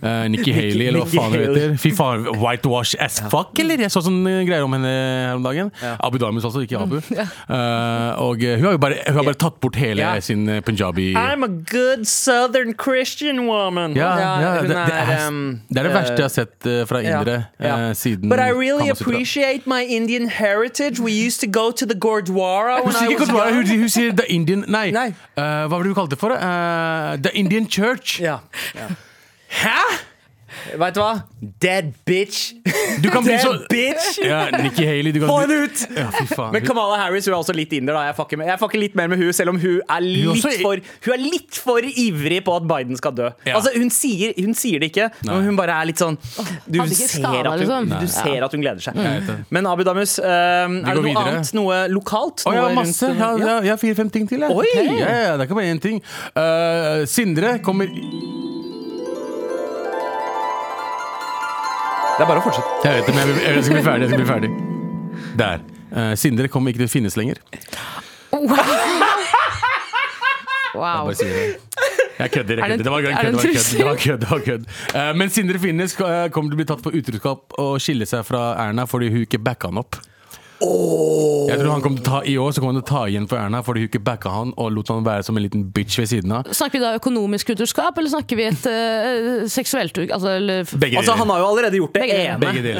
S3: eh, Nikki Haley, eller hva
S2: Mm. Nikki
S3: faen hun
S2: Haley.
S3: heter. Fy faen, whitewash as fuck, eller? Jeg så sånne greier om henne her om dagen. Abu Damus, altså, ikke Abu.
S2: Mm,
S3: Eh, og eh, hun har jo bare, hun har bare tatt bort hele
S2: Ja.
S3: sin eh, punjabi
S2: a good southern Christian woman.
S3: ja, ja,
S2: hun
S3: det, det, er,
S2: um,
S3: det er det verste jeg har sett eh, fra
S2: Ja,
S3: indere
S2: ja.
S3: eh, siden
S2: But I really
S3: Kama Sutra.
S2: appreciate my Indian heritage. We used to go to the Gurdwara
S3: Hun
S2: when
S3: sier
S2: I
S3: ikke
S2: was
S3: Gurdwara, hun,
S2: young.
S3: hun sier The Indian Nei,
S2: Nei.
S3: Eh, hva var det hun kalte det for? Eh, the Indian Church.
S2: Ja.
S3: Hæ?!
S2: Vet du hva? Dead bitch!
S3: Du kan bli så
S2: Dead bitch!
S3: Ja, Nikki Haley du kan
S2: Få henne
S3: bli-
S2: ut!
S3: Ja, fy faen.
S2: Men Kamala Harris hun er også litt inder. da Jeg fucker, med, jeg fucker litt mer med hun selv om hun er
S3: er
S2: litt,
S3: også i-
S2: for, hun er litt for ivrig på at Biden skal dø.
S3: Ja.
S2: Altså Hun sier, hun sier det ikke,
S3: Nei.
S2: men hun bare er litt sånn Du,
S4: hadde ikke
S2: ser,
S4: skada,
S2: at hun,
S4: liksom. Nei.
S2: du ser at hun gleder seg.
S3: Mm. vet det.
S2: Men Abu Damus, eh, er det
S3: går
S2: noe
S3: videre.
S2: annet? Noe lokalt?
S3: Å, jeg
S2: Noe
S3: har masse.
S2: rundt-
S3: Jeg har,
S2: Ja.
S3: jeg har fire-fem ting til. Jeg.
S2: Oi!
S3: Ja, ja, det er ikke bare én ting. Eh, Sindre kommer
S2: Det er bare å fortsette.
S3: Jeg vet det, men jeg, vil- jeg skal bli ferdig. Jeg skal bli ferdig. Der. Eh, Sindre kommer ikke til å finnes lenger.
S4: Wow.
S3: Bare sier det. Jeg kødder. jeg
S4: Er det
S3: kødder.
S4: en-
S3: Det var kødd. Det
S4: er det en
S3: var kødd.
S4: trussel?
S3: Det var kødd, det var kødd. Eh, Men Sindre Finnes eh, kommer til å bli tatt for utroskap og skille seg fra Erna fordi hun ikke backa han opp. Jeg tror han kommer til å ta I år så kommer han til å ta igjen for Erna fordi hun ikke backa han og lot han være som en liten bitch ved siden av.
S4: Snakker vi da økonomisk utroskap, eller snakker vi et eh, seksuelt ut- altså, eller,
S3: Begge
S2: Altså, han har jo allerede gjort det
S4: Begge deler.
S2: ene.
S3: Begge
S2: Eh,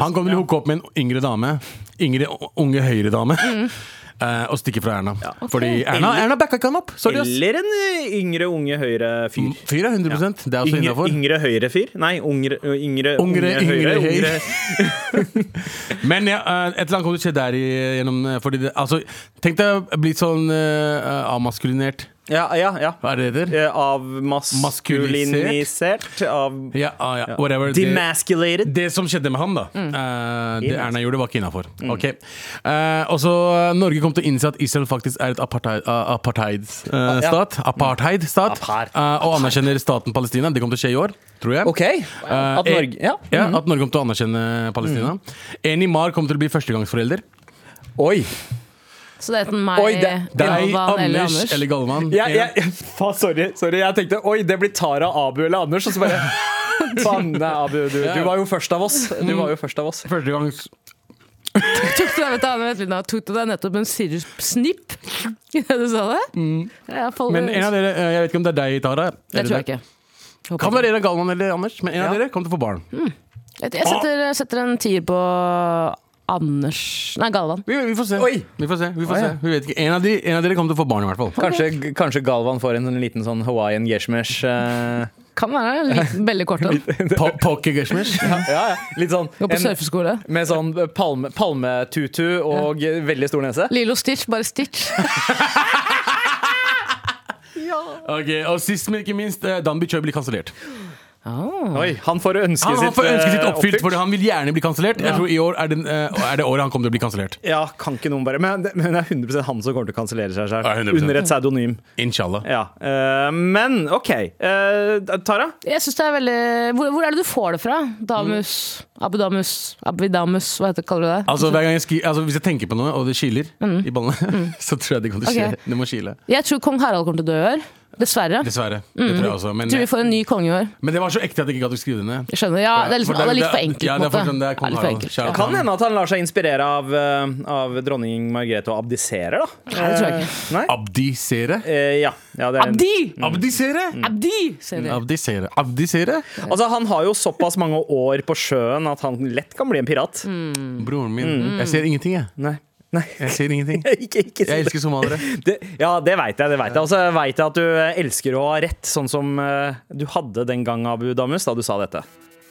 S3: Han kommer til å hooke opp med en yngre dame. Yngre, unge høyre dame.
S4: Mm.
S3: eh, Og stikke fra Erna. Fordi Erna,
S2: Eller-
S3: Erna backa ikke han opp! Sorry, ass.
S2: Eller en eh, yngre, unge høyre-fyr.
S3: Fyr er 100 Det er også
S2: Yngre,
S3: innafor.
S2: yngre høyre-fyr? Nei, ungre, ø, yngre,
S3: Ungre,
S2: unge
S3: yngre,
S2: høyre.
S3: høyre.
S2: Ungre.
S3: Men ja, eh, et eller annet kommer til å skje der i, gjennom eh, fordi det, altså, Tenk deg å bli sånn eh, avmaskulinert.
S2: Ja, ja, ja.
S3: Hva er det det heter?
S2: Eh, Avmaskulinisert? Av
S3: Ja, ah, ja, whatever. Det-
S2: Demasculated?
S3: Det som skjedde med han, da,
S2: Mm.
S3: eh, det
S2: Innafor.
S3: Erna gjorde, var ikke innafor.
S2: Mm.
S3: og så eh, Norge kom til å innse at Israel faktisk er et apartheid- eh, apartheidstat. eh,
S2: Ah, Ja.
S3: stat. Apartheidstat.
S2: Apar-
S3: eh, og anerkjenner staten Palestina. Det kommer til å skje i år, tror jeg.
S2: OK.
S3: Eh,
S2: At Norge Ja. Mm.
S3: ja, at Norge kommer til å anerkjenne Palestina. Eni Mar kommer til å bli førstegangsforelder.
S2: Oi.
S4: Så det het meg,
S2: Oi, det-
S3: Deg,
S4: Galvan Eh, eller
S3: Anders
S4: Anders.
S3: eller Galvan.
S2: Jeg, jeg, faen, sorry, sorry, jeg tenkte oi, det blir Tara, Abu eller Anders. Og så bare Faen, det er Abu. Du, du var jo først av oss. Du var jo først av oss.
S3: Første gang
S4: Tok du deg, vet du, Anne, vent litt nå. Tok du deg nettopp en sirupsnipp idet du sa det? Ja, folk-
S3: Mm. Men en av dere, eh, jeg vet ikke om det er deg, Tara.
S4: det
S3: eller
S4: tror jeg
S3: deg.
S4: ikke. Håper
S3: Kan
S4: ikke.
S3: være en av Galvan eller Anders, men en av dere kom til å få barn.
S4: Mm. Jeg, jeg setter, setter en tier på Anders Nei, Galvan.
S3: Vi, vi får se.
S2: Oi!
S3: Vi får se. Vi får
S2: Å, ja.
S3: se. Vi vet ikke. En av, de, en av dere kom til å få barn, i hvert fall.
S2: Kanskje, kanskje Galvan får en sånn liten sånn Hawaiian geshmesh. eh,
S4: Kan være en liten, veldig kort en.
S3: Po- Pocky Gershmish.
S2: ja, ja. Litt sånn
S4: Gå på
S2: en-
S4: surfeskole.
S2: Med sånn palme- palmetutu og veldig stor nese.
S4: Lilo Stitch, bare Stitch.
S3: Ok, Og sist, men ikke minst, eh, Danby Choi blir kansellert.
S2: Oi, han får ønsket
S3: Ah, Han, han
S2: sitt,
S3: får ønsket sitt
S2: eh,
S3: oppfylt, fordi han vil gjerne bli kansellert. Jeg tror i år er, den, eh, er det året han kommer til å bli kansellert.
S2: Ja, kan ikke noen bare Men det, men det er 100 han som kommer til å kansellere seg selv
S3: Ja, 100%.
S2: Under et pseudonym.
S3: Inshallah.
S2: Ja. eh, men OK. eh, Tara?
S4: Jeg synes det er veldig hvor, hvor er det du får det fra? Damus, Abudamus, Abidamus, hva heter, kaller du det?
S3: Altså, hver gang jeg skri, altså Hvis jeg tenker på noe, og det kiler i ballene, så tror jeg det kommer til å skje.
S4: Mm. Ok.
S3: Det må kile.
S4: Jeg tror kong Harald kommer til å dø i år. Dessverre. Jeg
S3: Dessverre. Det tror jeg også. Men,
S4: Mm. tror vi får en ny konge i år.
S3: men det var så ekte at jeg ikke gadd å skrive det ned.
S4: Jeg skjønner. Ja, det er, liksom,
S3: For
S4: det er litt for enkelt.
S3: Ja, det er
S4: på en
S3: fortsatt-
S4: måte.
S3: det er kong
S4: litt for
S3: Harald.
S4: enkelt,
S3: Kjære
S4: ja.
S2: Kan
S3: Kan
S2: hende at han lar seg inspirere av, eh, av dronning Margrethe og abdiserer, da.
S4: Nei, det tror jeg ikke.
S2: Eh, Nei?
S3: Abdisere?
S2: Eh, ja. ja det er,
S4: Abdi!
S3: Abdisere?
S2: Mm.
S4: Abdi! Ser dere.
S3: Abdisere. Abdisere?
S2: altså, han har jo såpass mange år på sjøen at han lett kan bli en pirat. Mm.
S3: Broren min. Jeg ser ingenting, jeg.
S2: Nei. Nei.
S3: Jeg ser ingenting.
S2: ikke, ikke si
S3: Jeg
S2: det.
S3: elsker somaliere.
S2: Det, ja, det veit jeg. det vet jeg Og så veit jeg at du eh, elsker å ha rett, sånn som eh, du hadde den gang, Abu Damus, da du sa dette.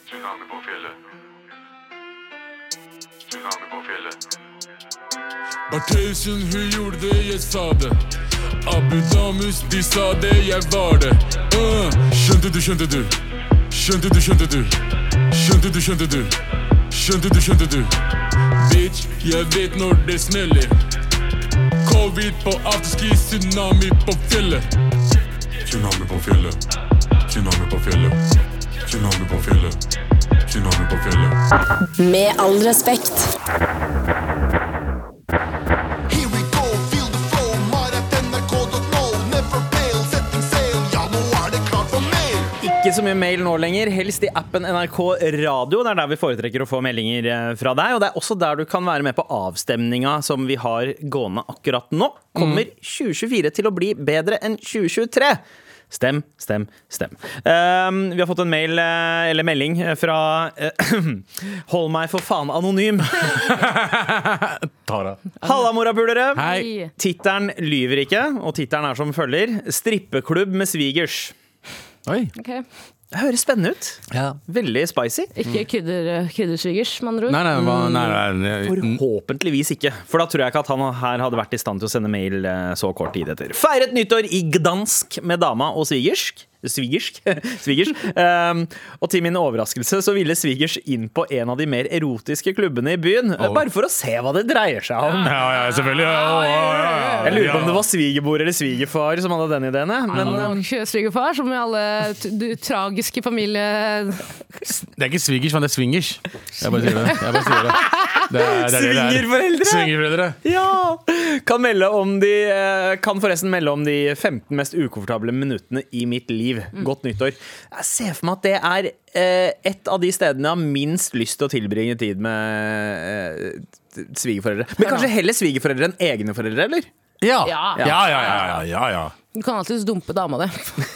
S9: Tsunami på fjellet. Tsunami på fjellet. Artesen, hun gjorde det, jeg sa det. Abu Damus, de sa det, jeg var det. Uh, skjønte du, skjønte du. Skjønte du, skjønte du. Skjønte du, skjønte du. Skjønte du, skjønte du. Bitch, jeg vet når det smeller. Covid på afterski, tsunami på fjellet. Tsunami på fjellet. Tsunami på fjellet. Tsunami på fjellet. Tsunami på fjellet.
S5: Med all respekt.
S6: Here we go, feel the flow, maratnrk.no. Never fail, setting sail, ja, nå er det klart for mer.
S2: Ikke så mye mail nå lenger, helst i appen NRK Radio. Det er der vi foretrekker å få meldinger eh, fra deg. Og det er også der du kan være med på avstemninga som vi har gående akkurat nå. Kommer 2024 til å bli bedre enn 2023? Stem, stem, stem. Ehm, vi har fått en mail, eh, eller melding, eh, fra eh, Hold meg for faen anonym.
S3: Tara.
S2: Halla, morapulere!
S3: Hei.
S2: Tittelen lyver ikke, og tittelen er som følger Strippeklubb med svigers.
S3: Oi.
S4: Ok.
S2: Det høres spennende ut. Veldig spicy.
S4: Ikke kudder- kuddersvigers, med andre ord.
S3: Nei, nei, hva,
S2: Mm.
S3: nei, nei, Mm. nei.
S2: Forhåpentligvis ikke, for da tror jeg ikke at han her hadde vært i stand til å sende mail eh, så kort tid etter. Feiret nyttår i Gdansk med dama og svigersk. Svigersk? svigers. Ehm, og til min overraskelse så ville svigers inn på en av de mer erotiske klubbene i byen. eh, Bare for å se hva det dreier seg om.
S3: Ja, ja, selvfølgelig. Ja, ja, ja, ja.
S2: Jeg lurer på om
S3: Ja. Mm.
S2: det var svigermor eller svigerfar som hadde den ideen. jeg, Men eh,
S4: Og Svigerfar, som i alle t du, tragiske familie...
S3: Det er ikke svigers, men det er swingers. Jeg bare sier det. Jeg bare sier det. det, er, det, er det det er.
S2: Swingerforeldre!
S3: Swingerforeldre.
S2: Ja! Kan, melde om de, eh, kan forresten melde om de 15 mest ukomfortable minuttene i mitt liv. Godt nyttår. Jeg ser for meg at det er eh, et av de stedene jeg har minst lyst til å tilbringe tid med eh, svigerforeldre. Men kanskje heller svigerforeldre enn egne foreldre, eller?
S3: Ja. Ja,
S4: Ja.
S3: ja, ja. ja, ja, ja.
S4: Du kan alltid dumpe dama di.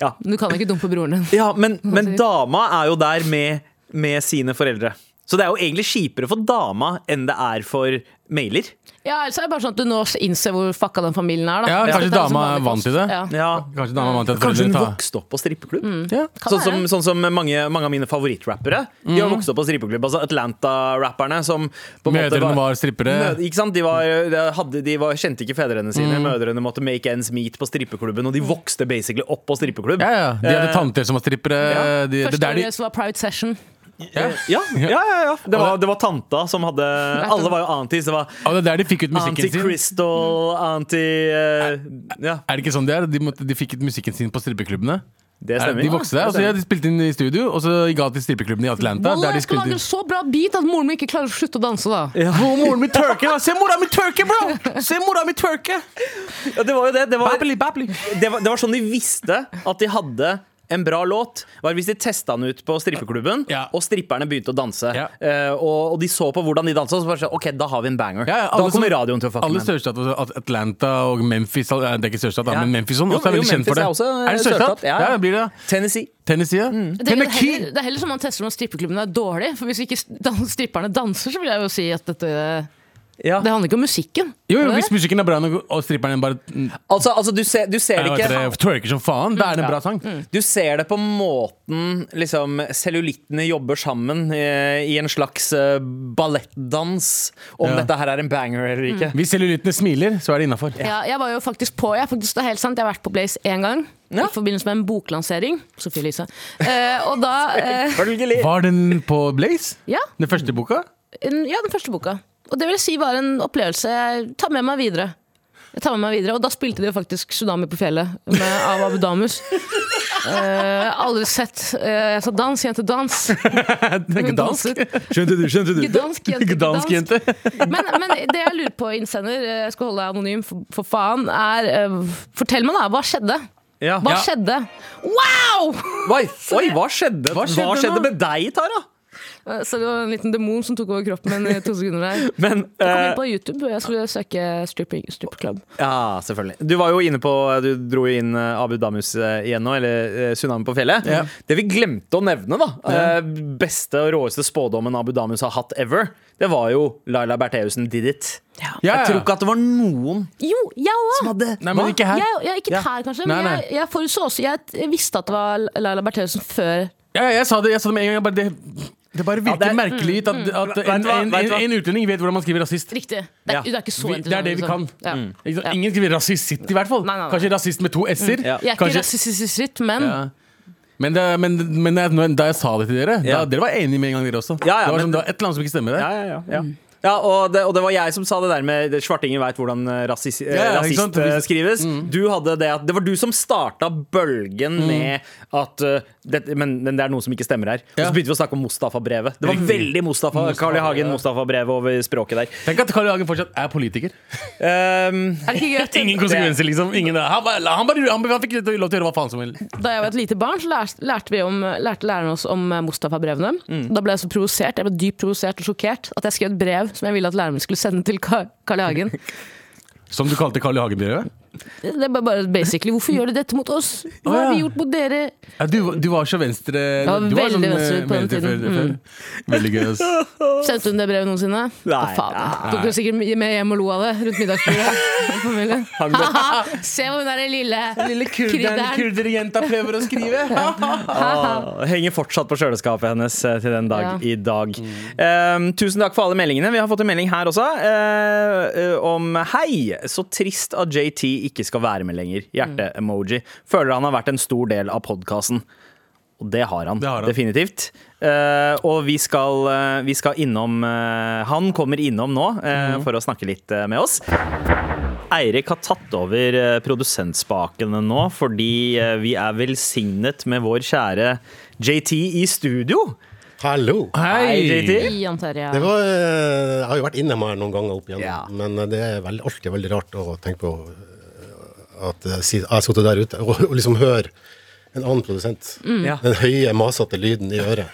S2: Ja.
S4: Du kan ikke dumpe broren din.
S2: Ja, men, men dama er jo der med, med sine foreldre. Så det er jo egentlig kjipere for dama enn det er for mailer.
S4: Ja, ellers er det bare sånn at du nå innser hvor fucka den familien er. Da.
S3: Ja,
S4: Så
S3: kanskje
S4: det er
S3: dama
S4: som vanlig
S3: er vant til det.
S4: kost. Ja.
S2: Ja.
S3: Kanskje dama er vant til at
S2: Kanskje hun
S3: foreldrene tar
S2: vokste opp på strippeklubb?
S3: Ja.
S2: Sånn som,
S4: være.
S2: sånn som mange, mange av mine favorittrappere. De har vokst opp på strippeklubb. Altså Atlanta-rapperne som på en måte
S3: Mødrene var strippere.
S2: Mød- Ikke sant? De, var, de hadde, de var, kjente ikke fedrene
S3: Mhm.
S2: sine. Mødrene måtte make ends meet på strippeklubben, og de vokste basically opp på strippeklubb.
S3: Ja, ja. De hadde
S2: Eh,
S3: tanter som var strippere.
S2: ja.
S3: De, det
S4: Første
S3: er der
S4: året
S3: de
S4: så var private session.
S3: ja.
S2: ja, ja, ja, ja. Det, var, det var tanta som hadde Alle var jo aunties. Det var
S3: Og det er der de fikk ut musikken sin.
S2: anti-Crystal, anti... eh, ja.
S3: Er det ikke sånn det er? De, måtte, de fikk ut musikken sin på strippeklubbene.
S2: Det
S3: Er det-
S2: stemmer.
S3: De vokste der. Altså, ja, de spilte inn i studio, og så gikk alt til strippeklubben i Atlanta.
S4: Wallah,
S3: der de
S4: jeg skal
S3: spilte
S4: lage
S3: inn
S4: en så bra beat at moren min ikke klarer å slutte å danse, da.
S3: Hvor moren min twerker! da. Se mora mi twerke, bro! Se mora mi twerke!
S2: Ja, det var jo det. Det var,
S3: Babbly, babbly.
S2: det, var, det var sånn de visste at de hadde en bra låt var hvis de testa den ut på strippeklubben,
S3: Ja.
S2: og stripperne begynte å danse.
S3: Ja.
S2: Eh, og, og de så på hvordan de dansa, og så bare sånn OK, da har vi en banger.
S3: Ja, ja, alle
S2: da kommer
S3: som-
S2: radioen til å fucke
S3: Alle
S2: med den.
S3: sørstater, altså Atlanta og Memphis al- eh, Det er ikke sørstat, da,
S2: Ja.
S3: men Memphis sånn,
S2: Jo,
S3: også er
S2: jo,
S3: veldig kjent
S2: Memphis
S3: for det.
S2: er også, eh,
S3: er det sørstat?
S2: sørstat, ja, Mm.
S3: Ja,
S2: ja.
S3: ja, blir det.
S2: Tennessee.
S3: Tennessee, ja.
S4: Det er,
S3: Tennessee!
S4: heller, det er heller som man tester om strippeklubben er dårlig. For hvis ikke dan- stripperne danser, så vil jeg jo si at dette
S2: Ja.
S4: Det handler ikke om musikken.
S3: Jo, jo,
S4: Eller?
S3: hvis musikken er bra nok, og stripperen bare mm,
S2: Altså, altså du, ser, du ser det
S3: jeg vet
S2: ikke.
S3: det, twerker som faen, da er
S4: Mm.
S3: det en bra sang.
S2: Du ser det på måten liksom, cellulittene jobber sammen eh, i en slags eh, ballettdans. Om
S3: Ja.
S2: dette her er en banger eller ikke.
S3: Hvis cellulittene smiler, så er det innafor.
S4: Ja, jeg var jo faktisk på. Jeg, er faktisk, det er helt sant, jeg har vært på Blaze én gang.
S2: Ja.
S4: I forbindelse med en boklansering. Sophie Elise. Eh, og da eh,
S2: Selvfølgelig.
S3: Var den på Blaze?
S4: ja,
S3: Den første boka?
S4: en- ja, den første boka. Og det vil jeg si var en opplevelse jeg tar med meg videre. Jeg tar med meg videre, Og da spilte de jo faktisk 'Tsunami på fjellet' med, av Abu Damus. Eh, aldri sett eh, Jeg sa 'dans, jente, dans'. Hun danset.
S3: Skjønte du, skjønte du?
S4: Gdansk jente,
S3: Gdansk jente.
S4: Men, men det jeg lurer på, innsender, eh, jeg skal holde deg anonym for, for faen, er eh, Fortell meg, da. Hva skjedde?
S2: Ja.
S4: Hva
S2: Ja.
S4: skjedde? Wow!
S2: Oi, oi, hva skjedde? Hva skjedde,
S3: skjedde nå?
S2: med deg, Tara?
S4: Eh, Så det var en liten demon som tok over kroppen min i to sekunder der.
S2: Men,
S4: Jeg kom
S2: eh,
S4: inn på YouTube, jeg skulle søke stripping, stripperklubb.
S2: ja, selvfølgelig. Du var jo inne på Du dro jo inn eh, Abu Damus eh, igjen nå, eller eh, Tsunami på fjellet.
S3: Ja.
S2: Det vi glemte å nevne, da, eh, beste og råeste spådommen Abu Damus har hatt ever, det var jo Laila Bertheussen did it.
S3: Ja,
S2: Jeg tror
S3: ja.
S2: ikke at det var noen
S4: Jo, jeg
S2: som
S4: òg!
S2: hadde
S3: Nei, men ikke her.
S4: Jeg, jeg, ikke
S2: Ja.
S4: her, kanskje,
S3: Nei,
S4: men
S3: nei.
S4: jeg, jeg forutså også Jeg visste at det var Laila Bertheussen før.
S3: Ja, ja, jeg sa det, jeg sa det med en gang. Jeg bare, det, det bare virker
S2: det er-
S3: merkelig
S4: Mm.
S3: ut at, at
S2: Vet
S3: en,
S2: du hva, vet
S3: en,
S2: du
S3: en,
S2: hva?
S3: en utlending vet hvordan man skriver rasist.
S4: Riktig. Det er,
S2: Ja.
S4: det er ikke så
S3: Vi, det er
S4: interessant,
S3: det vi kan. Mm.
S4: liksom. Ja.
S3: Ikke sant?
S4: Ja.
S3: Ingen skriver rasist, i hvert fall.
S4: Nei, nei, nei.
S3: Kanskje rasist med to s-er.
S2: Ja.
S4: Jeg er ikke
S3: Kanskje-
S4: rasistisk, men
S3: Ja. Men, det, men, men da jeg- når- da jeg sa det til dere, da,
S2: Ja.
S3: dere var enige med en gang, dere også.
S2: Ja, ja,
S3: det, var
S2: men-
S3: sånn, det var et eller annet som ikke stemmer der.
S2: Ja, ja, ja, ja.
S3: Mm.
S2: ja og, det, og det var jeg som sa det der med det- Svartingen veit hvordan eh, rasis, eh,
S3: Ja, ja, ikke sant? Mm.
S2: rasist eh, skrives. Du hadde det at Det var du som starta bølgen med at eh, det, men, men det er noe som ikke stemmer her. Og
S3: Ja. Mm.
S2: så begynte vi å snakke om Mustafa-brevet. Det var veldig Mustafa, Carl I. Hagen Mustafa-brevet over språket der.
S3: Tenk at Karl Jagen fortsatt er politiker.
S2: Ehm,
S4: er det ikke gøy?
S3: Ingen konsekvenser, liksom. Ingen, han, bare, han, bare, han, han fikk lov til å gjøre hva faen som helst.
S4: Da jeg var et lite barn, så lærte, lærte, vi om, lærte læreren oss om eh, Mustafa-brevene.
S3: Mm.
S4: Da ble jeg så provosert, jeg ble dypt provosert og sjokkert at jeg skrev et brev som jeg ville at læreren min skulle sende til Ka- Carl I. Hagen.
S3: Som du kalte Carl I. Hagen-brevet?
S4: Det det er bare- bare basically, Hvorfor gjør de dette mot oss? Hva har vi gjort mot dere?
S3: Ja, du, du var så venstre
S4: var
S3: du var
S4: veldig
S3: eh,
S4: venstre på den
S3: venstre
S4: tiden. Mm.
S3: før- før. Veldig gøy, ass.
S4: Sendte hun det brevet noensinne?
S2: Nei.
S4: Å, faen. Tok hun sikkert med hjem og lo av det rundt middagsbordet. Haha, Se hva hun er, den lille, lille
S3: kurderjenta prøver å skrive.
S2: Åh, henger fortsatt på kjøleskapet hennes eh, til den dag
S4: Ja.
S2: i dag. Ehm, tusen takk for alle meldingene. Vi har fått en melding her også eh, eh, om Hei, så trist at JT ikke skal være med lenger. Hjerte-emoji. Føler han har vært en stor del av podkasten. Og det har han,
S3: Det har han.
S2: definitivt. Eh, og vi skal, eh, vi skal innom eh, Han kommer innom nå eh, for å snakke litt eh, med oss. Eirik har tatt over eh, produsentspakene nå, fordi eh, vi er velsignet med vår kjære JT i studio.
S10: Hallo.
S2: Hei, JT.
S4: Ian Terje.
S10: Det var, eh, jeg har jo vært innom her noen ganger opp igjennom,
S2: Ja.
S10: men eh, det er veldig, alltid veldig rart å tenke på eh, at eh, si- jeg har sittet der ute og, og liksom hører en annen produsent.
S2: Ja.
S10: Den høye, masete lyden i øret.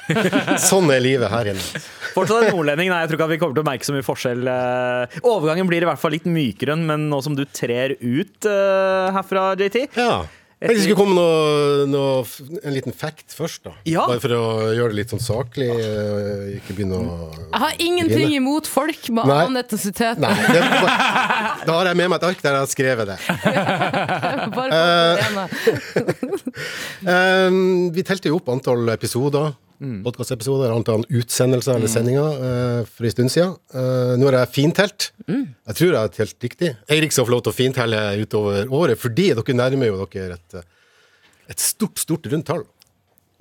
S10: sånn er livet her inne.
S2: Fortsatt en nordlending. Nei, jeg tror ikke at vi kommer til å merke så mye forskjell. eh. Overgangen blir i hvert fall litt mykere, men nå som du trer ut eh, herfra, JT
S10: Ja. Jeg tenkte det skulle komme noe, noe, f- en liten fact først, da.
S2: Ja.
S10: Bare for å gjøre det litt sånn saklig. eh, Ikke begynne å
S4: Jeg har ingenting imot folk med
S10: Nei.
S4: annen etnisitet.
S10: Nei. Det, da har jeg med meg et ark der jeg har skrevet det. Eh,
S4: Bare folk med det ene.
S10: Ehm, vi telte jo opp antall episoder, podcastepisoder, antall utsendelser eller sendinger eh, for en stund siden. Eh, nå har jeg fintelt. Jeg tror jeg har telt riktig. Eirik skal få lov til å fintelle utover året, fordi dere nærmer jo dere et, eh, et stort, stort rundt tall.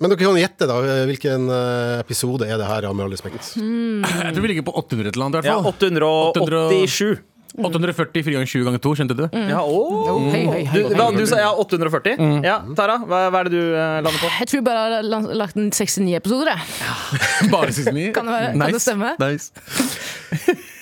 S10: Men dere kan gjette, da. eh, Hvilken eh, episode er det her, av med all respekt?
S3: Jeg tror vi ligger på 800 eller annet, i
S2: Ja,
S3: hvert fall.
S2: 887.
S3: 840 4 ganger 20 ganger 2, skjønte du?
S2: Mm. Ja,
S10: Mm.
S2: åh.
S4: Høy, høy, høy.
S2: Du, hva, du sa ja, 840? Ja, Tara, hva, hva er det du eh, lander på?
S4: Jeg tror bare jeg har la- lagt inn 69 episoder, jeg.
S3: Bare 69?
S4: Mm. Kan det være- kan det stemme?
S3: Nice.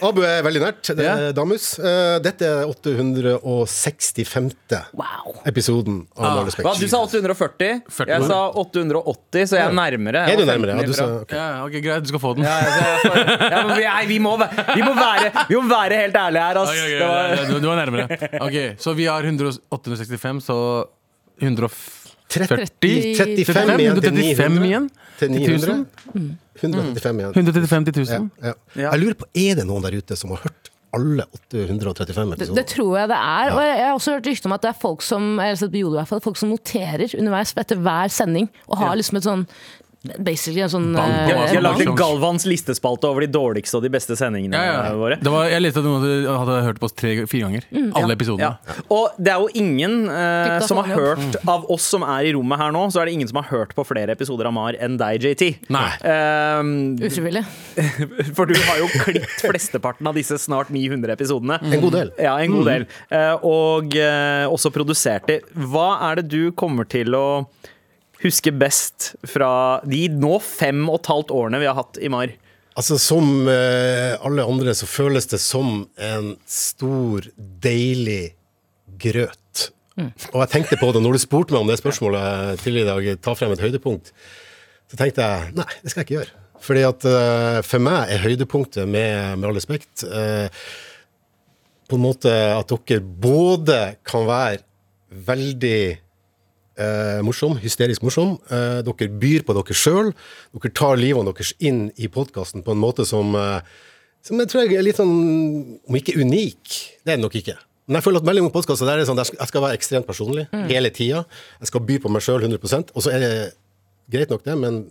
S10: Abu er veldig nært. Det er Damus. Eh, Dette er 865.
S4: Wow.
S10: episoden av Med all respekt.
S2: Hva, du sa 840. Jeg sa 880, så jeg er nærmere. Jeg
S10: Er du
S2: var
S10: nærmere?
S2: 15
S10: Ja, du sa,
S2: ifra.
S10: ok.
S3: Ja, ok, Greit, du skal få den.
S2: Ja, altså, jeg får- ja, men vi, nei, vi, må, væ- vi, må være, vi må være helt ærlige her, ass.
S3: Ok, ok,
S2: Det var-
S3: ja, du, du var nærmere. Ok, Så vi har 100 865, så 140
S10: 35 igjen til
S3: 135
S10: 900.
S3: igjen?
S10: Til 900.
S3: 1000?
S4: Mm.
S10: 185 igjen.
S3: 135 til 1000?
S10: Ja. Jeg lurer på, er det noen der ute som har hørt alle 835
S4: Det, det
S10: episoder?
S4: tror jeg det er. Og jeg, jeg har også hørt rykte om at det er folk som jeg har sett på YouTube, i hvert fall, folk som noterer underveis etter hver sending. Og har liksom et sånn Basically en sånn
S3: Bang,
S4: eh,
S3: bang,
S2: Jeg
S3: bang.
S2: lagde Galvans listespalte over de dårligste og de beste sendingene
S3: Ja, ja.
S2: Eh, våre. Mm,
S3: Det var, jeg leste at noen hadde, hadde hørt på oss tre, fire ganger.
S2: Ja.
S3: Alle episodene.
S2: Og det er jo ingen eh,
S4: Fikk da
S2: som har
S4: faen jobb.
S2: hørt
S10: Mm.
S2: Av oss som er i rommet her nå, så er det ingen som har hørt på flere episoder av Mar enn deg, JT.
S3: Nei.
S2: Ehm,
S4: Ufrivillig.
S2: for du har jo klippet flesteparten av disse snart 900 episodene.
S10: En god del. Mm.
S2: Ja, en god del. Eh, og eh, også produsert det. Hva er det du kommer til å huske best fra de nå fem og et halvt årene vi har hatt i Mar?
S10: Altså, som eh, alle andre så føles det som en stor, deilig grøt. Og jeg tenkte på det når du spurte meg om det spørsmålet tidligere i dag, ta frem et høydepunkt, så tenkte jeg nei, det skal jeg ikke gjøre. Fordi at eh, for meg er høydepunktet, med, med all respekt, eh, på en måte at dere både kan være veldig eh, morsom, hysterisk morsom. Eh, dere byr på dere sjøl. Dere tar livene deres inn i podkasten på en måte som, eh, som jeg tror jeg er litt sånn Om ikke unik, det er det nok ikke. Men jeg føler at veldig mange podkaster der er det sånn der skal- jeg skal være ekstremt personlig hele tida. Jeg skal by på meg sjøl 100 Og så er det greit nok, det, men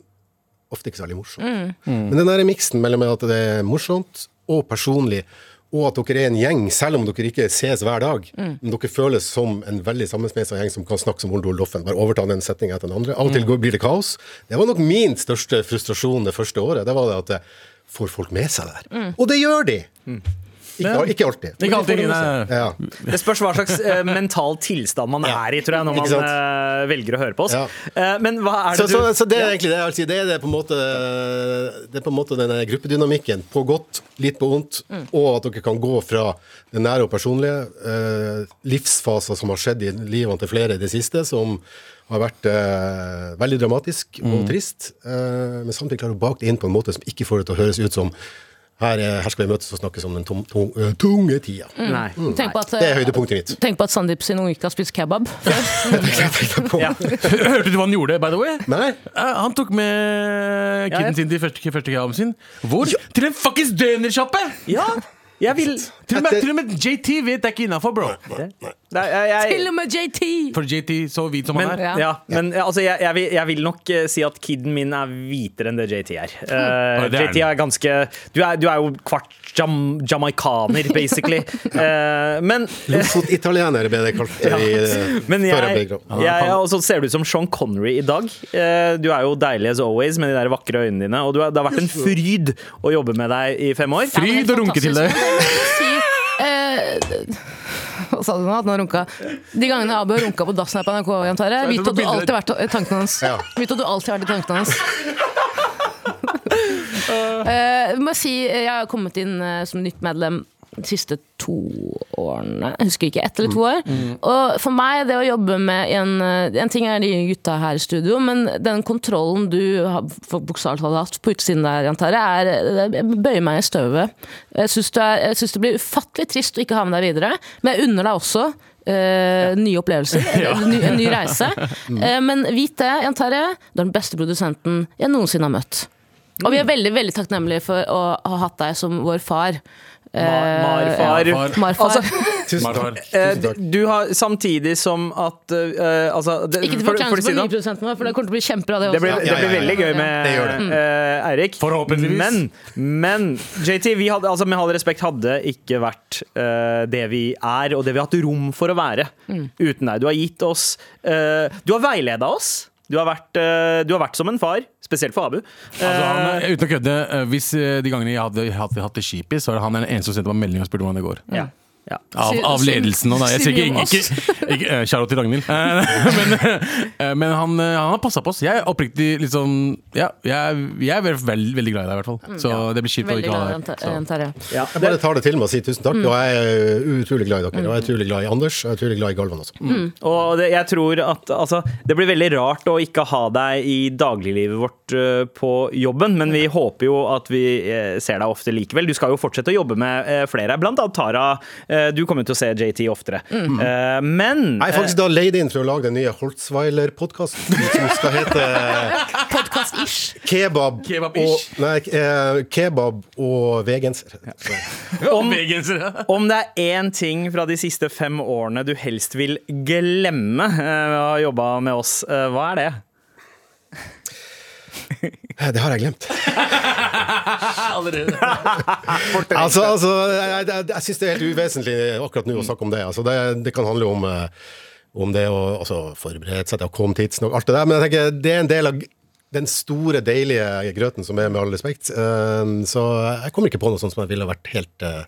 S10: ofte ikke særlig morsomt. Men den der miksen mellom at det er morsomt og personlig, og at dere er en gjeng, selv om dere ikke ses hver dag, men dere føles som en veldig sammensmeisa gjeng som kan snakke som Oldo og Loffen, bare overta den setninga etter den andre. Av og til går- blir det kaos. Det var nok min største frustrasjon det første året. Det var det at eh, får folk med seg det her? Og det gjør de! Ikke, ikke alltid.
S3: Ikke alltid. Nei, nei.
S10: Ja.
S2: Det spørs hva slags eh, mental tilstand man
S10: Ja.
S2: er i, tror jeg, når
S10: Ikke
S2: man
S10: sant?
S2: eh, velger å høre på oss.
S10: Ja.
S2: Eh, men hva er
S10: Så,
S2: det du
S10: så, så det er egentlig det jeg vil si. Det er, det på en måte, det er på en måte denne gruppedynamikken. På godt, litt på vondt.
S2: Mm.
S10: Og at dere kan gå fra det nære og personlige, eh, livsfaser som har skjedd i livene til flere i det siste, som har vært eh, veldig dramatisk og
S2: Mm.
S10: trist, eh, men samtidig klarer å bake det inn på en måte som ikke får det til å høres ut som her, er, her skal vi møtes og snakkes om den tung, tung, eh, tunge tida.
S2: Nei.
S10: Mm.
S4: Tenk på at,
S10: Det er høydepunktet mitt.
S4: tenk på at Sandeep sin unge ikke har spist kebab.
S2: Ja.
S3: Hørte du hva han gjorde, by the way?
S10: Nei,
S3: Eh, Han tok med
S2: Ja, ja.
S3: kiden sin til første, første kebaben sin. Hvor? Til en fuckings dønersjappe!
S2: ja, jeg vil
S3: Til, og med-
S10: Dette-
S3: til og med JT vet det er ikke innafor, bro.
S2: Nei, jeg, jeg,
S4: Til og med JT!
S3: For JT, så hvit som han
S2: Men,
S3: er.
S2: ja. men ja, altså, jeg, jeg, vil, jeg vil nok eh, si at kiden min er hvitere enn det JT er. Eh,
S3: Ja, det er
S2: JT er ganske Du er, du er jo kvart jam, jamaikaner, basically. Eh, men
S10: Lofot-italiener ble det kalt eh, i,
S2: men
S10: før jeg ble
S2: jeg,
S10: grav.
S2: jeg, jeg og så ser du ut som Sean Connery i dag. Eh, Du er jo deilig as always med de der vakre øynene dine. Og du er, det har vært en fryd å jobbe med deg i fem år.
S3: Fryd
S4: Helt
S3: og runke til deg.
S4: fantastisk. Men det må jeg si, eh, Hva sa du nå? At han har runka De gangene Abu har runka på dassen her på NRK, antar jeg, vit at du alltid har vært i tankene hans.
S10: Ja.
S4: Vit at du alltid har vært i tankene hans. Eh, må jeg si, eh, jeg har kommet inn eh, som nytt medlem de siste to årene. Jeg husker ikke. Ett eller to år. Og for meg, det å jobbe med en eh, En ting er de gutta her i studio, men den kontrollen du har for- bokstavelig talt hatt på utsiden der, antar jeg, er eh, Jeg bøyer meg i støvet. Jeg syns det, er- jeg synes det blir ufattelig trist å ikke ha med deg videre, men jeg unner deg også. eh, nye opplevelser, en, ny, en ny reise. Eh, men vit det, Jan Terje, du er den beste produsenten jeg noensinne har møtt. Og vi er veldig veldig takknemlige for å ha hatt deg som vår far.
S2: Marfar.
S3: Ja, far.
S4: Marfar.
S2: Altså,
S10: Tusen
S3: Marfar.
S10: takk.
S2: Eh,
S10: Tusen takk.
S2: du- du har samtidig som at eh, altså, det,
S4: ikke til
S2: for- for å si det,
S4: forkleinelse for
S2: sånn.
S4: nye produsenten vår, for det kommer til å bli kjempebra, det også.
S2: Det blir,
S10: Ja,
S2: det blir
S10: ja, ja, ja.
S2: veldig gøy med
S10: Det Mm. gjør det.
S2: eh, Eirik.
S3: Forhåpentligvis.
S2: Men, men JT, vi hadde, altså, med all respekt, hadde ikke vært eh, det vi er, og det vi har hatt rom for å være uten deg. Du har gitt oss eh, Du har veileda oss. Du har, vært, eh, du har vært som en far, spesielt for Abu.
S3: Altså, han,
S2: Eh,
S3: er- uten å kødde, eh, hvis eh, de gangene jeg hadde hatt, hatt det kjipest, så er det han er den eneste som sendte meg melding og spurte hvordan det går.
S2: ja. Ja.
S3: Av, av ledelsen og da. Jeg
S4: sier
S3: sier
S4: mye om
S3: ikke,
S4: oss.
S3: ikke, ikke eh, Shout out til Ragnhild. Eh, men, eh, men han, eh, han har passa på oss. Jeg er oppriktig litt sånn Ja, jeg, jeg er vel- veldig, veldig glad i deg, i hvert fall. Så det blir kjipt å
S4: Mm, Veldig
S3: ikke ha deg.
S4: glad i Jan Ter-
S3: Så.
S4: Jan Terje.
S2: Ja,
S10: Jeg bare tar det til meg og sier tusen takk. Og jeg er utrolig glad i dere. Og jeg er utrolig glad i Anders, og jeg er utrolig glad i Galvan også.
S2: Og det, jeg tror at altså, det blir veldig rart å ikke ha deg i dagliglivet vårt eh, på jobben, men vi håper jo at vi eh, ser deg ofte likevel. Du skal jo fortsette å jobbe med eh, flere, blant annet Tara. Eh, du kommer jo til å se JT oftere. Eh, men
S10: Jeg er faktisk da leid inn for å lage den nye Holtzweiler-podkasten, som skal hete
S4: Podcast-ish.
S10: Kebab og,
S3: Kebab-ish.
S10: nei, eh, kebab og vegenser.
S4: eh,
S3: Om vegensere!
S2: Om det er én ting fra de siste fem årene du helst vil glemme eh, ved å ha jobba med oss, eh, hva er det?
S10: Eh, Det har jeg glemt.
S3: Allerede.
S10: Altså, altså jeg, jeg, jeg syns det er helt uvesentlig akkurat nå å snakke om det. Altså, det, det kan handle om, eh, om det å altså, forberede seg til å komme tidsnok, alt det der. Men jeg tenker, det er en del av den store, deilige grøten som er, med all respekt. Eh, Så jeg kommer ikke på noe sånt som jeg ville vært helt, eh,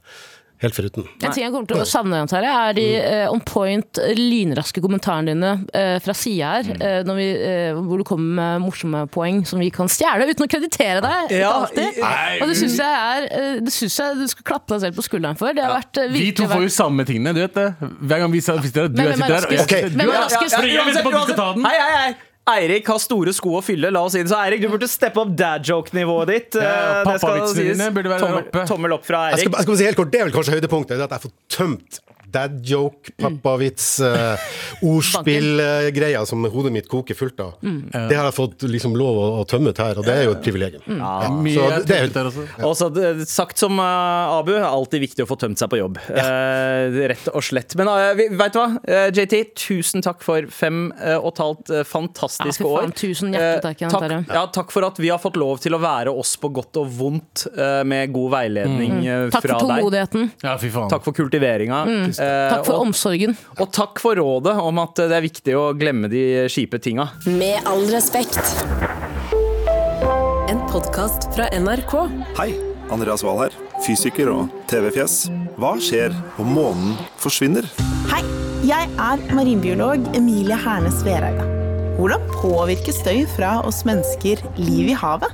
S10: helt foruten.
S4: En ting jeg kommer til å savne, Jan Terje, er de
S2: Mm.
S4: eh, on point, eh, lynraske kommentarene dine eh, fra sida her.
S2: Mm.
S4: eh, når vi, eh, hvor du kommer med morsomme poeng som vi kan stjele uten å kreditere deg. ikke
S2: Ja,
S4: alltid.
S3: i-
S4: og det syns jeg, er, eh, det synes jeg du skal klappe deg selv på skulderen for. Det har vært eh,
S3: Vi
S4: virkelig
S3: to får jo
S4: vært-
S3: samme tingene, du vet det. Hver gang vi sitter her, du
S4: Hvem
S3: er
S4: er
S3: sitter her. og jeg
S4: raskest?
S3: sitter-
S4: Hvem
S3: du
S4: er
S3: er-
S4: raskest?
S3: Ja, ja, ja, Jeg venter på at du skal ta den.
S2: Hei, hei, hei! Eirik har store sko å fylle. La oss si det. Så Eirik, du burde steppe opp dad joke-nivået ditt.
S3: Ja,
S2: Eh, det skal
S3: pappavitsene
S2: sies.
S3: dine burde være
S2: tommel,
S3: oppe.
S2: tommel opp fra
S10: Jeg skal,
S2: Eirik.
S10: jeg skal bare si helt kort, Det er vel kanskje høydepunktet, det at jeg får tømt dad joke, pappavits,
S3: Mm.
S10: eh, ordspillgreier som hodet mitt koker fullt av.
S3: Mm.
S10: Det har jeg fått liksom lov å, å tømme ut her, og det er jo et privilegium. Ja,
S3: Mm. Mye
S10: så
S3: jeg
S10: det er
S3: tenkte der også.
S2: Og så, eh, sagt som eh, Abu, alltid viktig å få tømt seg på jobb. Eh, rett og slett. Men eh, vi- vet du hva, Eh, JT, tusen takk for fem eh, og et halvt eh, fantastiske
S4: Ja, fy
S2: år.
S4: faen, tusen hjertelig
S2: Eh,
S4: takk, Jan
S2: takk,
S4: Terje.
S2: ja, takk for at vi har fått lov til å være oss på godt og vondt eh, med god veiledning eh,
S4: Mm. Takk
S2: fra
S4: for
S2: deg.
S4: tålmodigheten.
S3: Ja, fy faen.
S2: Takk for kultiveringa.
S3: Mm.
S2: Eh,
S4: Takk for
S2: og,
S4: omsorgen.
S2: og takk for rådet om at det er viktig å glemme de kjipe tinga.
S5: Med all respekt.
S1: En podkast fra NRK.
S11: Hei, Andreas Wahl her, fysiker og TV-fjes. Hva skjer om månen forsvinner?
S12: Hei, jeg er marinbiolog Emilie Hernes Vereide. Hvordan påvirker støy fra oss mennesker liv i havet?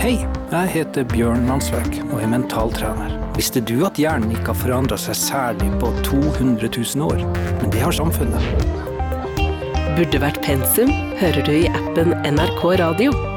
S13: Hei, jeg heter Bjørn Mansverk og er mentaltrener. Visste du at hjernen ikke har forandra seg særlig på 200 000 år? Men det har samfunnet.
S14: Burde vært pensum, hører du i appen NRK Radio.